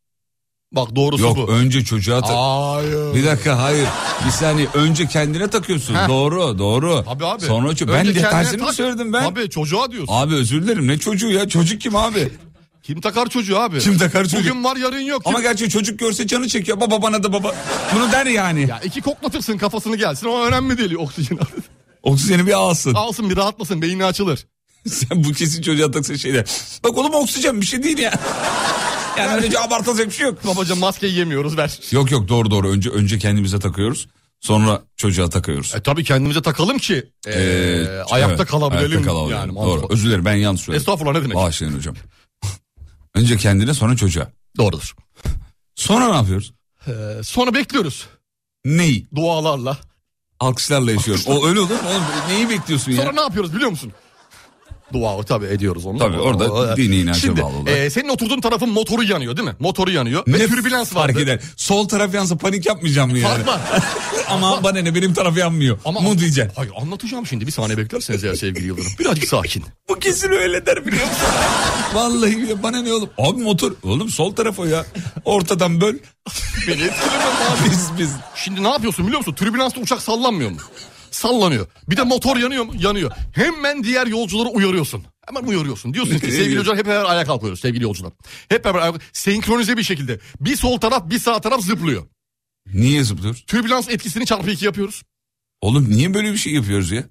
Bak doğrusu
Yok,
bu.
önce çocuğa tak-
Hayır.
Bir dakika hayır. Bir saniye önce kendine takıyorsun.
Heh.
Doğru doğru.
Abi abi.
Sonra ço- ben de
kendine
tersini
tak.
mi söyledim ben?
Abi çocuğa diyorsun.
Abi özür dilerim ne çocuğu ya çocuk kim
*laughs*
abi?
Kim takar çocuğu abi?
Kim takar çocuğu?
Bugün var yarın yok.
Ama gerçi çocuk görse canı çekiyor baba bana da baba. Bunu der yani.
Ya iki koklatırsın kafasını gelsin ama önemli değil *laughs* oksijen.
Oksijeni bir alsın.
Alsın bir rahatlasın beyni açılır.
*laughs* Sen bu kesin çocuğa taksa şeyler. Bak oğlum oksijen bir şey değil ya. *laughs* Yani öyle abartılacak bir şey yok.
Babacım maskeyi yemiyoruz ver.
Yok yok doğru doğru önce önce kendimize takıyoruz. Sonra çocuğa takıyoruz.
E tabii kendimize takalım ki e,
Ee,
ayakta
evet,
kalabilelim.
ayakta kalabilelim.
Yani,
doğru. Özür dilerim ben yanlış söyledim.
Estağfurullah, ne demek?
Bağışlayın hocam. *laughs* Önce kendine sonra çocuğa.
Doğrudur.
Sonra ne yapıyoruz?
Ee, sonra bekliyoruz
Neyi?
dualarla.
Alkışlarla yaşıyorum. O öyle olur mu? Oğlum, neyi bekliyorsun ya?
Sonra ne yapıyoruz biliyor musun? Dua tabii ediyoruz onu.
Tabii, orada
O-
dini inanca
Şimdi,
bağlı olarak.
e, senin oturduğun tarafın motoru yanıyor değil mi? Motoru yanıyor. Ve türbülans var.
fark eder? Sol taraf yansa panik yapmayacağım mı yani?
Fark var.
*laughs* Ama bana ne benim taraf yanmıyor. Ama Mu diyeceksin.
Hayır anlatacağım şimdi bir saniye beklerseniz eğer sevgili Yıldırım. Birazcık sakin.
Bu kesin öyle der biliyor musun? *laughs* Vallahi bile bana ne oğlum? Abi motor. Oğlum sol taraf o ya. Ortadan böl.
Beni etkileme abi.
Biz biz.
Şimdi ne yapıyorsun biliyor musun? Türbülansta uçak sallanmıyor mu? Sallanıyor. Bir de motor yanıyor mu? Yanıyor. Hemen diğer yolcuları uyarıyorsun. Hemen uyarıyorsun. Diyorsun ki sevgili yolcular hep beraber ayağa kalkıyoruz sevgili yolcular. Hep beraber ayağa- senkronize bir şekilde. Bir sol taraf bir sağ taraf zıplıyor.
Niye zıplıyoruz?
Türbülans etkisini çarpı iki yapıyoruz.
Oğlum niye böyle bir şey yapıyoruz ya?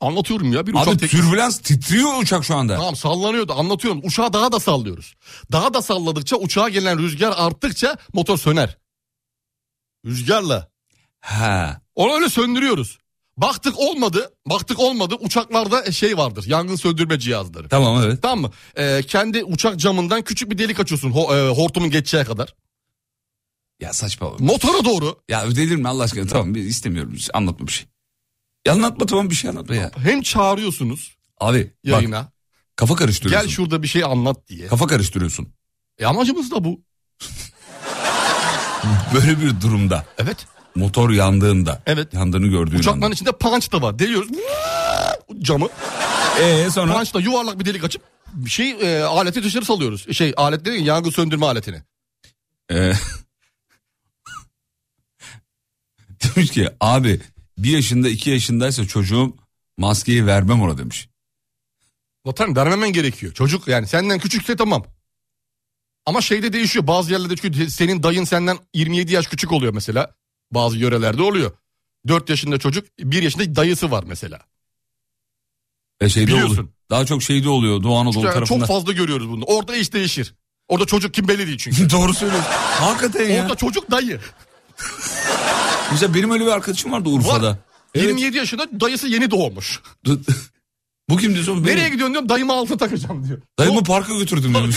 Anlatıyorum ya bir uçak
Abi
tek-
türbülans titriyor uçak şu anda.
Tamam sallanıyor da anlatıyorum. Uçağı daha da sallıyoruz. Daha da salladıkça uçağa gelen rüzgar arttıkça motor söner. Rüzgarla.
Ha.
Onu öyle söndürüyoruz. Baktık olmadı. Baktık olmadı. Uçaklarda şey vardır. Yangın söndürme cihazları.
Tamam evet.
Tamam mı? Ee, kendi uçak camından küçük bir delik açıyorsun. ho- e, hortumun geçeceği kadar.
Ya saçma.
Motora doğru.
Ya ödedim mi Allah aşkına? Tamam biz istemiyorum. Biz Anlatma bir şey. Ya anlatma tamam bir şey anlatma ya.
Hem çağırıyorsunuz
Abi bak
yayına.
kafa
gel
karıştırıyorsun.
şurada bir şey anlat diye.
Kafa karıştırıyorsun.
E, amacımız da bu.
Böyle bir durumda
Evet.
motor yandığında.
Evet.
Yandığını gördüğün anda.
Uçakların içinde punch da var. Deliyoruz. Camı.
Ee, sonra
Punch'la yuvarlak bir delik açıp bir şey e, aleti dışarı salıyoruz. Şey alet dediğin yangın söndürme aletini.
Ee, *laughs* demiş ki abi bir yaşında iki yaşındaysa çocuğum maskeyi vermem ona demiş.
Vatan vermemen gerekiyor. Çocuk yani senden küçükse tamam. Ama şeyde değişiyor. Bazı yerlerde çünkü senin dayın senden 27 yaş küçük oluyor mesela. Bazı yörelerde oluyor. 4 yaşında çocuk, 1 yaşında dayısı var mesela.
E şeyde
Biliyorsun.
oluyor. Daha çok şeyde oluyor Doğu Anadolu
Yani çok
tarafında.
fazla görüyoruz bunu. Orada iş değişir. Orada çocuk kim belli değil çünkü.
Doğru söylüyorsun. Hakikaten *laughs* ya.
Orada çocuk dayı.
Mesela benim öyle bir arkadaşım vardı Urfa'da.
Var.
Evet.
27 yaşında dayısı yeni doğmuş.
*laughs* Bu kim diyorsun? Benim.
Nereye gidiyorsun diyorum dayımı altına takacağım diyor.
*laughs* Dayımı parka götürdüm demiş.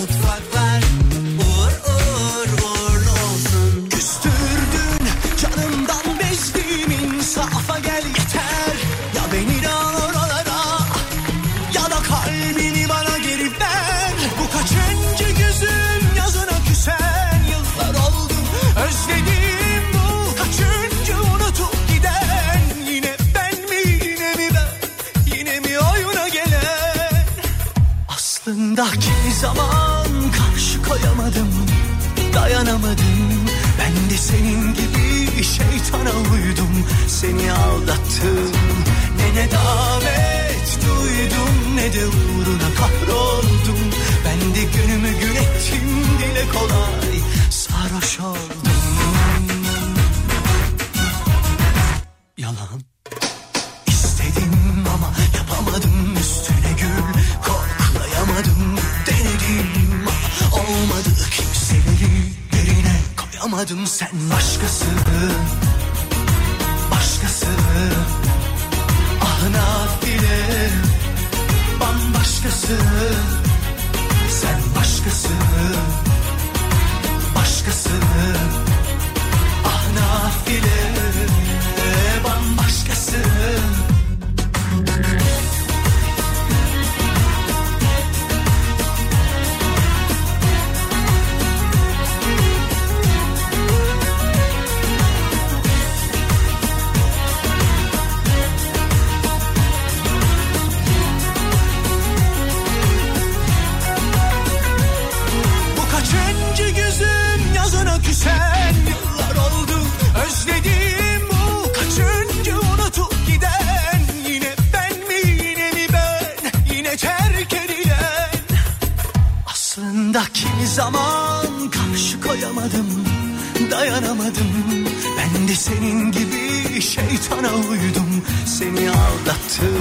mutfaklar uğur uğur uğurlu olsun Küstürdün canımdan bezdiğim insafa gel yeter Ya beni de al oralara ya da kalbini bana geri ver Bu kaçıncı gözüm yazına küsen yıllar oldu Özlediğim bu kaçıncı unutup giden Yine ben mi yine mi ben yine mi oyuna gelen aslında kimi zaman karşı koyamadım Dayanamadım Ben de senin gibi şeytana uydum Seni aldattım Ne nedamet duydum Ne de uğruna kahroldum Ben de günümü gün ettim Dile kolay sarhoş oldum Yalan İstedim ama yapamadım üstüne gül koklayamadım denedim ama olmadı kimseleri derine koyamadım sen başkası başkası ahına bile bambaşkası sen başkası başkası Ah, ahına bile bambaşkası Yanında kimi zaman karşı koyamadım Dayanamadım Ben de senin gibi şeytana uydum Seni aldattım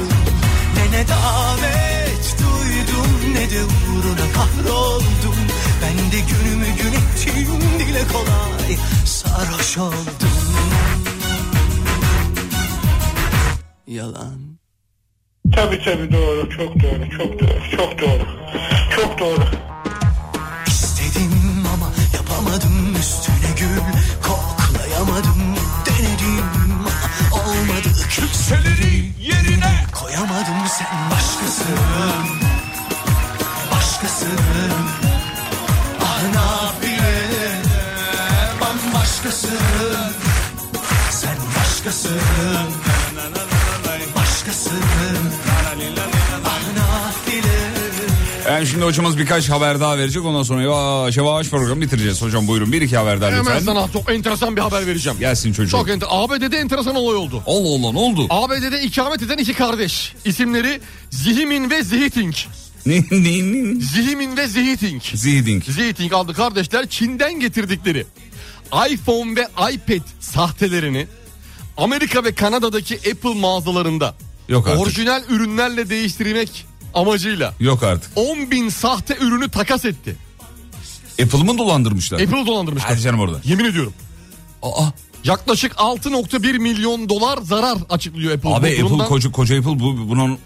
Ne ne davet duydum Ne de uğruna kahroldum Ben de günümü gün ettim Dile kolay sarhoş oldum Yalan
Tabii tabii doğru, çok doğru, çok doğru, çok doğru. Çok doğru.
İstedim ama yapamadım üstüne gül koklayamadım denedim ama olmadı külseleri yerine koyamadım sen başkasın başkasın ah ne yapayım bambaşkasın sen başkasın başkasın ah ne yapayım
Hem şimdi hocamız birkaç haber daha verecek ondan sonra yavaş yavaş programı bitireceğiz. Hocam buyurun bir iki haber daha lütfen.
Hemen sana çok enteresan bir haber vereceğim.
Gelsin çocuğum.
Çok enter ABD'de enteresan olay oldu.
Allah Allah ne oldu? *laughs*
ABD'de ikamet eden iki kardeş. İsimleri Zihimin ve Zihiting.
Neyin?
Zihimin ve Zihiting.
Zihiting.
Zihiting adlı kardeşler Çin'den getirdikleri iPhone ve iPad sahtelerini Amerika ve Kanada'daki Apple mağazalarında
Yok artık.
orijinal ürünlerle değiştirmek amacıyla
Yok artık.
10 bin sahte ürünü takas etti.
Apple'ımı dolandırmışlar.
Apple dolandırmışlar.
Her canım orada.
Yemin ediyorum.
Aa.
Yaklaşık 6.1 milyon dolar zarar açıklıyor Apple.
Abi
Bu durumdan-
Apple koca, koca Apple bu, bunun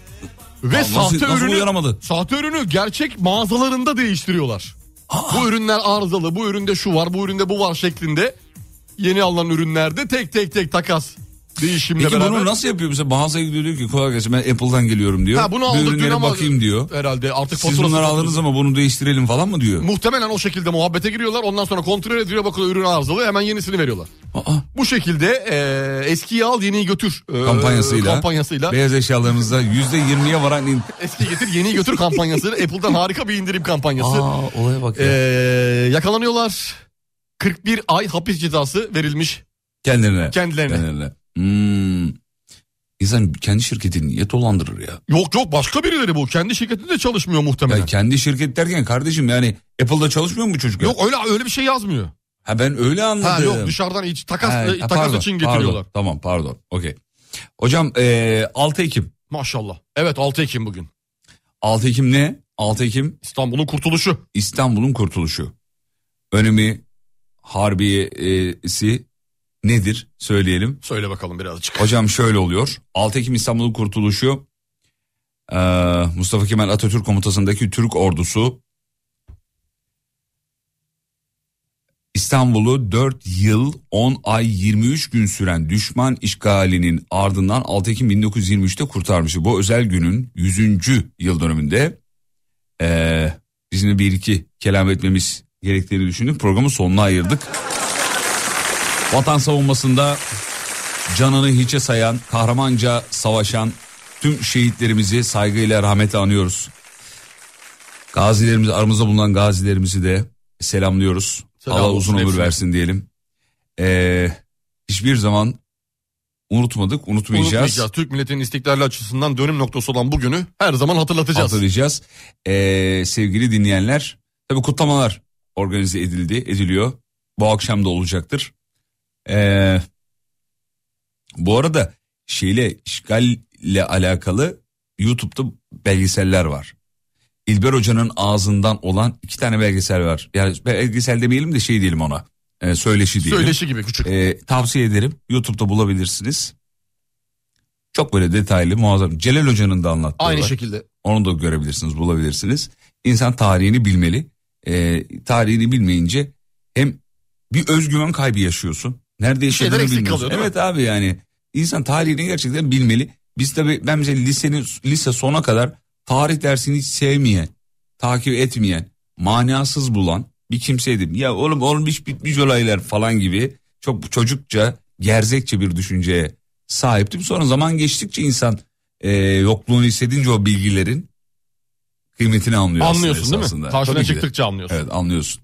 Ve
Nasıl-
sahte
nasıl
ürünü
uyaramadı?
sahte ürünü gerçek mağazalarında değiştiriyorlar. Bu ürünler arızalı, bu üründe şu var, bu üründe bu var şeklinde yeni alınan ürünlerde tek tek tek takas değişimle
Peki
beraber.
bunu nasıl yapıyor? Mesela mağazaya gidiyor diyor ki kolay gelsin ben Apple'dan geliyorum diyor.
Ha, bunu
Bir
aldık dün
ürünlere
ama-
bakayım diyor.
Herhalde artık
Siz
faturası-
bunları aldınız ama bunu değiştirelim falan mı diyor.
Muhtemelen o şekilde muhabbete giriyorlar. Ondan sonra kontrol ediliyor bakılıyor ürün arızalı hemen yenisini veriyorlar. Bu şekilde e, eskiyi al yeniyi götür e,
Kampanyasıyla,
kampanyasıyla
beyaz eşyalarınızda yüzde yirmiye varan in-
Eski getir yeni götür kampanyası.
*laughs*
Apple'dan harika bir indirim kampanyası.
Aa, olaya bak ya.
Ee, yakalanıyorlar. 41 ay hapis cezası verilmiş.
kendilerine.
Kendilerine.
Hmm. İnsan kendi şirketini niye dolandırır ya?
Yok yok başka birileri bu. Kendi şirketinde çalışmıyor muhtemelen.
Ya kendi şirket derken kardeşim yani Apple'da çalışmıyor mu bu çocuk?
Yok öyle öyle bir şey yazmıyor.
Ha ben öyle anladım.
Ha, yok dışarıdan hiç takas, e,
Ha,
takas
pardon,
için
pardon.
getiriyorlar.
tamam pardon. Okey. Hocam e, 6 Ekim.
Maşallah. Evet 6 Ekim bugün.
6 Ekim ne? 6 Ekim.
İstanbul'un kurtuluşu.
İstanbul'un kurtuluşu. Önemi harbiyesi nedir? Söyleyelim.
Söyle bakalım birazcık.
Hocam şöyle oluyor. 6 Ekim İstanbul'un kurtuluşu e, Mustafa Kemal Atatürk komutasındaki Türk ordusu İstanbul'u 4 yıl 10 ay 23 gün süren düşman işgalinin ardından 6 Ekim 1923'te kurtarmıştı. Bu özel günün 100. yıl dönümünde eee bizim de Ee, bir iki kelam etmemiz gerektiğini düşündük. Programın sonuna ayırdık. Vatan savunmasında canını hiçe sayan, kahramanca savaşan tüm şehitlerimizi saygıyla rahmetle anıyoruz. Gazilerimiz aramızda bulunan gazilerimizi de selamlıyoruz.
Selam
Allah
olsun
uzun ömür
hepsine.
versin diyelim. Ee, hiçbir zaman unutmadık, unutmayacağız.
Unutmayacağız. Türk milletinin istiklali açısından dönüm noktası olan bugünü her zaman hatırlatacağız.
Hatırlayacağız. Ee, sevgili dinleyenler, tabii kutlamalar organize edildi, ediliyor. Bu akşam da olacaktır. Ee, bu arada şeyle işgalle alakalı YouTube'da belgeseller var. İlber Hoca'nın ağzından olan iki tane belgesel var. Yani belgesel demeyelim de şey diyelim ona. Ee, söyleşi diyelim.
Söyleşi gibi küçük.
Ee, tavsiye ederim. YouTube'da bulabilirsiniz. Çok böyle detaylı muazzam. Celal Hoca'nın da anlattığı
Aynı
var.
şekilde.
Onu da görebilirsiniz, bulabilirsiniz. İnsan tarihini bilmeli. Ee, tarihini bilmeyince hem bir özgüven kaybı yaşıyorsun. Nerede yaşadığını
şeyler eksik
bilmiyorsun.
kalıyor, değil mi?
Evet abi yani insan tarihini gerçekten bilmeli. Biz tabii ben mesela lisenin lise sona kadar tarih dersini hiç sevmeyen, takip etmeyen, manasız bulan bir kimseydim. Ya oğlum oğlum hiç bitmiş olaylar falan gibi çok çocukça, gerzekçe bir düşünceye sahiptim. Sonra zaman geçtikçe insan e, yokluğunu hissedince o bilgilerin kıymetini anlıyor aslında
Anlıyorsun değil mi?
esasında.
Karşına
Tabii ki de.
çıktıkça anlıyorsun.
Evet anlıyorsun.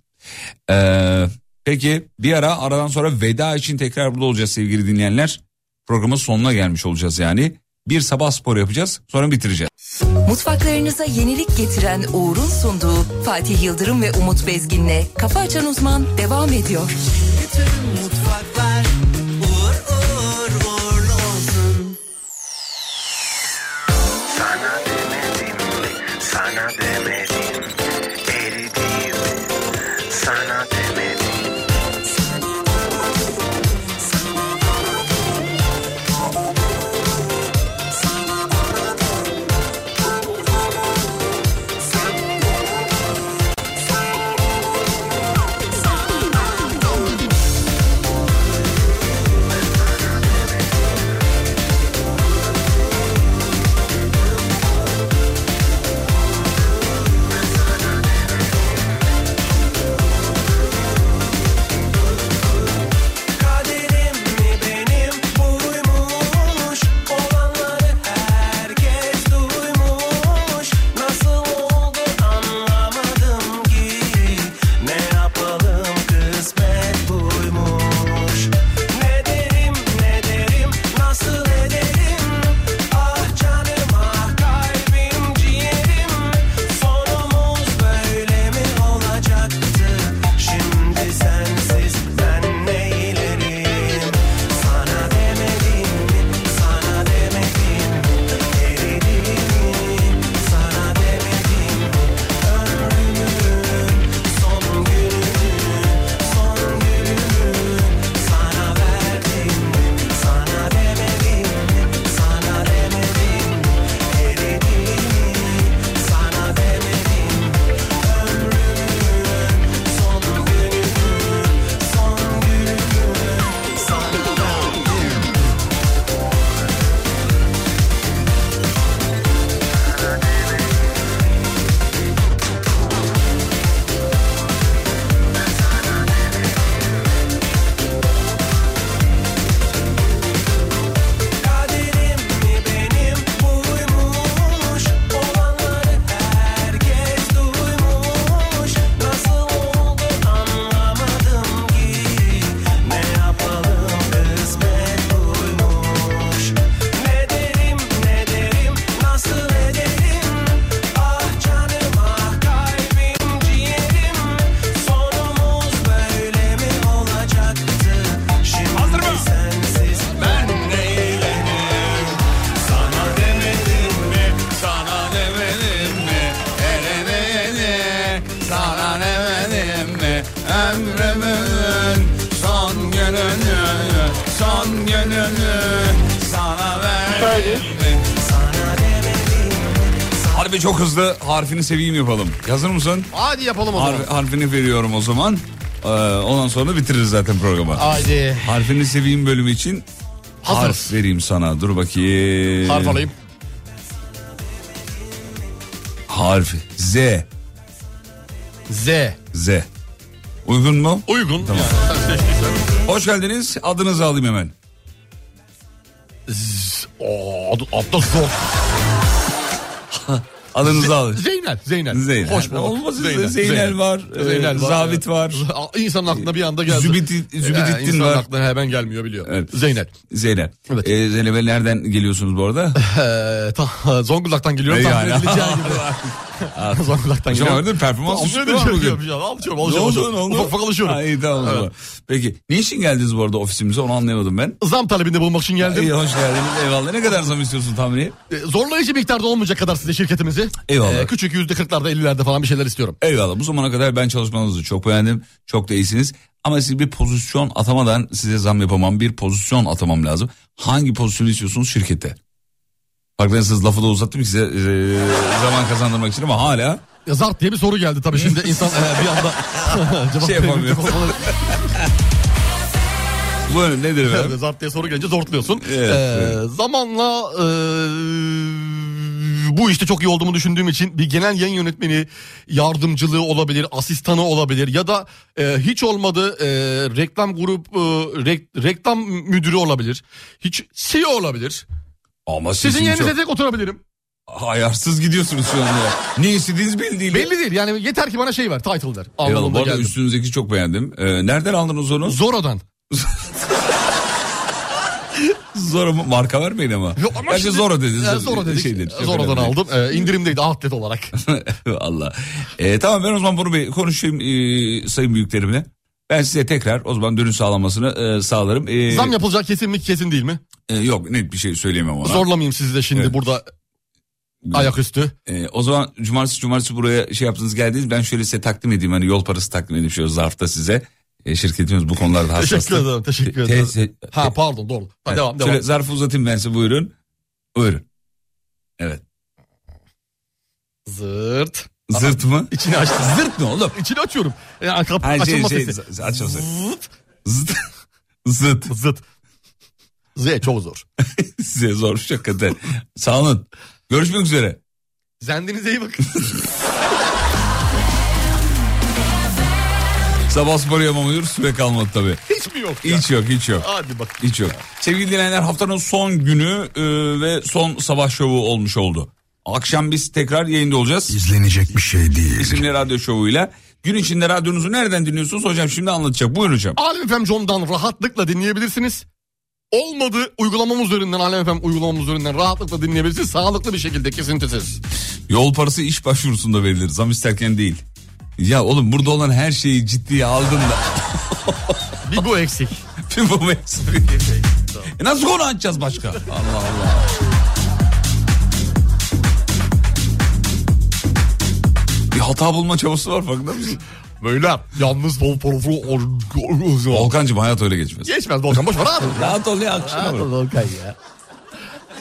Ee, peki bir ara aradan sonra veda için tekrar burada olacağız sevgili dinleyenler. Programın sonuna gelmiş olacağız yani. Bir sabah spor yapacağız sonra bitireceğiz.
Mutfaklarınıza yenilik getiren Uğur'un sunduğu Fatih Yıldırım ve Umut Bezgin'le Kafa Açan Uzman devam ediyor.
Mutfaklar uğur uğur uğurlu olsun. Sana demedim, sana demedim. Eridim, sana demedim. Kaderim mi benim buymuş Olanları herkes duymuş Nasıl oldu anlamadım ki Ne yapalım kısmet buymuş Ne derim ne derim nasıl ederim Ah canım ah kalbim ciğerim Sonumuz böyle mi olacaktı Şimdi sensiz ben neylerim Sana demedim mi sana demedim mi Eridim sana demedim mi Ömrümün son gününü son gününü Sana verdim mi sana demedim mi Sana demedim mi Eridim sana demedim mi Ömrümün son gününü son günümü sana verdim Kaderim mi benim buymuş Olanları herkes duymuş Nasıl oldu anlamadım ki Ne yapalım kısmet buymuş Ne derim ne derim nasıl ederim Ah canım ah kalbim ciğerim Sonumuz böyle mi olacaktı Şimdi sensiz ben neylerim Sana demedim mi sana demedim mi Elemedim sana demedim mi Ömrümün son gününü son gününü Sana verdim mi sana demedim
Harbi çok hızlı harfini seveyim yapalım. Yazır mısın?
Hadi yapalım o zaman.
Harf- harfini veriyorum o zaman. Ee, ondan sonra bitiririz zaten programı.
Haydi.
Harfini seveyim bölümü için harf vereyim sana. Dur bakayım.
Harf alayım.
Harf Z.
Z.
Z. Uygun mu?
Uygun.
Tamam. Hoş geldiniz. Adınızı alayım hemen.
Oo, adı, adı zor.
Adınızı *laughs* alın.
Zeynel. Zeynel.
Zeynel.
Hoş bulduk.
Olmaz işte. Zeynel var, e, Zabit var.
Aa, İnsanın aklına bir anda geldi.
Zübidi- Zübidettin
Yani insanın
var.
aklına hemen gelmiyor biliyor.
Zeynep. Zeynep. Ee, Zeynep'e nereden geliyorsunuz bu *laughs* arada?
Ee, ta- Zonguldak'tan geliyorum.
E
Tahmin
yani. *laughs*
edileceği gibi. Zonguldak'tan
Hocam
geliyorum.
gördün mü? performans
Tamam,
düştü
süper
mü
yapıyor,
bugün?
yapıyor. Alışıyorum,
Ne
alışıyorum,
oldu,
alışıyorum.
ne oldu?
Ufak ufak alışıyorum.
Ha, iyi, tamam, o zaman. Peki ne için geldiniz bu arada ofisimize onu anlayamadım ben.
Zam talebinde bulunmak için geldim.
İyi hoş geldiniz eyvallah. Ne kadar zam istiyorsun tahmini?
Ee, Zorlayıcı miktarda olmayacak kadar size şirketimizi.
Eyvallah.
Ee, küçük yüzde kırklarda ellilerde falan bir şeyler istiyorum.
Eyvallah bu zamana kadar ben çalışmanızı çok beğendim. Çok da iyisiniz. Ama siz bir pozisyon atamadan size zam yapamam. Bir pozisyon atamam lazım. Hangi pozisyonu istiyorsunuz şirkette? Bak ben siz lafı da uzattım ki size e, zaman kazandırmak için ama hala
Ya E, Zart diye bir soru geldi tabii şimdi insan e, bir anda
*laughs*
cevap
Şey
verebilecek
yapamıyor.
olmalı.
*laughs* bu nedir efendim?
*laughs* Evet, Zart diye soru gelince zortluyorsun.
Evet,
Ee,
evet.
Zamanla e, bu işte çok iyi olduğumu düşündüğüm için bir genel yayın yönetmeni yardımcılığı olabilir, asistanı olabilir ya da e, hiç olmadı e, reklam grup e, rek- reklam müdürü olabilir. Hiç CEO olabilir.
Ama
Sizin
sesiniz
yerinize
çok-
tek oturabilirim.
Hayarsız gidiyorsunuz şu anda. Ne istediğiniz belli değil.
Belli değil yani yeter ki bana şey ver title ver.
Eyvallah, bu
Anlamında
arada
geldim.
üstünüzdeki çok E, beğendim. Ee, nereden aldınız onu?
Zora'dan.
Zora mı? marka vermeyin ama.
Yok ama
Bence
şimdi-
Zora dediniz.
Ee, Zora dedik.
şey
Ee, Zora'dan aldım. Ee, indirimdeydi atlet olarak.
*laughs* Valla. Ee, tamam ben o zaman bunu bir konuşayım ee, sayın büyüklerimle. Ben size tekrar o zaman dönüş sağlamasını ee, sağlarım. Ee,
Zam yapılacak kesin mi kesin değil mi?
ee, yok net bir şey söyleyemem ona.
Zorlamayayım sizi de şimdi burada ayaküstü.
Ee, o zaman cumartesi cumartesi buraya şey yaptınız geldiniz. Ben şöyle size takdim edeyim. Hani yol parası takdim edeyim şöyle zarfta size. Ee, şirketimiz bu konularda hassastır.
*laughs* Teşekkür ederim. Teşekkür
Te-
ederim.
te-
ha pardon doğru. Ha,
Evet,
devam
Şöyle
devam.
zarfı uzatayım ben size buyurun. Buyurun. Evet.
Zırt.
Zırt mı?
İçini açtım.
Zırt ne oğlum?
İçini açıyorum. Yani kap-
Hayır, şey,
açılma
şey,
sesi.
z- açma sesi. *laughs*
Zırt.
Zıt. Zıt.
Zıt. Z çok zor.
Size zor hakikaten. Sağ olun. Görüşmek üzere.
Zendinize iyi bakın.
Sabah spor yapamıyoruz süre kalmadı tabii.
Hiç mi yok ya?
Hiç yok hiç yok.
Hadi bak.
Hiç yok. Sevgili dinleyenler haftanın son günü e, ve son sabah şovu olmuş oldu. Akşam biz tekrar yayında olacağız. İzlenecek bir şey değil. İsimli radyo şovuyla. Gün içinde radyonuzu nereden dinliyorsunuz hocam şimdi anlatacak. Buyurun hocam.
Alem FM Com'dan rahatlıkla dinleyebilirsiniz. Olmadı uygulamamız üzerinden Alem FM uygulamamız üzerinden rahatlıkla dinleyebilirsiniz. Sağlıklı bir şekilde kesintisiz.
Yol parası iş başvurusunda verilir. Zam isterken değil. Ya oğlum burada olan her şeyi ciddiye aldın da.
Bir bu eksik.
Bir *laughs* bu eksik. E nasıl konu açacağız başka? Allah Allah. Bir hata bulma çabası var farkında mısın?
Böyle yalnız bol
Volkan'cığım hayat öyle geçmez.
Geçmez Volkan boş ver abi.
Rahat ol ya akşam
Rahat
olur.
ol Volkan ya.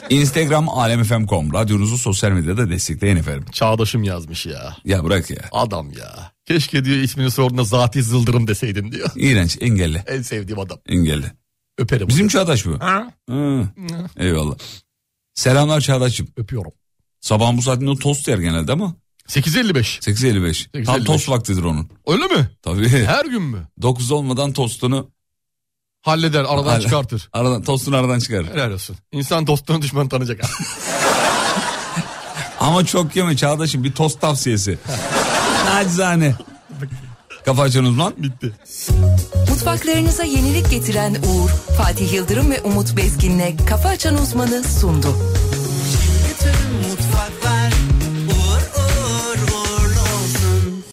Instagram alemfm.com. Radyonuzu sosyal medyada destekleyin efendim.
Çağdaşım yazmış ya.
Ya bırak ya.
Adam ya. Keşke diyor ismini sorduğunda Zati Zıldırım deseydin diyor. *laughs*
İğrenç engelli.
En sevdiğim adam.
Engelli.
Öperim.
Bizim çağdaş bu.
Ha?
Hı. Eyvallah. Selamlar Çağdaş'cığım.
Öpüyorum.
Sabahın bu saatinde tost yer genelde ama.
8.55.
8.55. Tam
8.55.
tost vaktidir onun.
Öyle mi?
Tabii. *laughs*
Her gün mü?
9 olmadan tostunu
Halleder aradan
Hala-
çıkartır.
aradan tostunu aradan çıkar.
Helal olsun. İnsan dostunu düşman tanıyacak. *laughs*
Ama çok yeme Çağdaş'ım bir tost tavsiyesi. Nacizane. Kafa açan uzman.
Bitti.
Mutfaklarınıza yenilik getiren Uğur, Fatih Yıldırım ve Umut Bezgin'le Kafa Açan Uzman'ı sundu.
Yeterim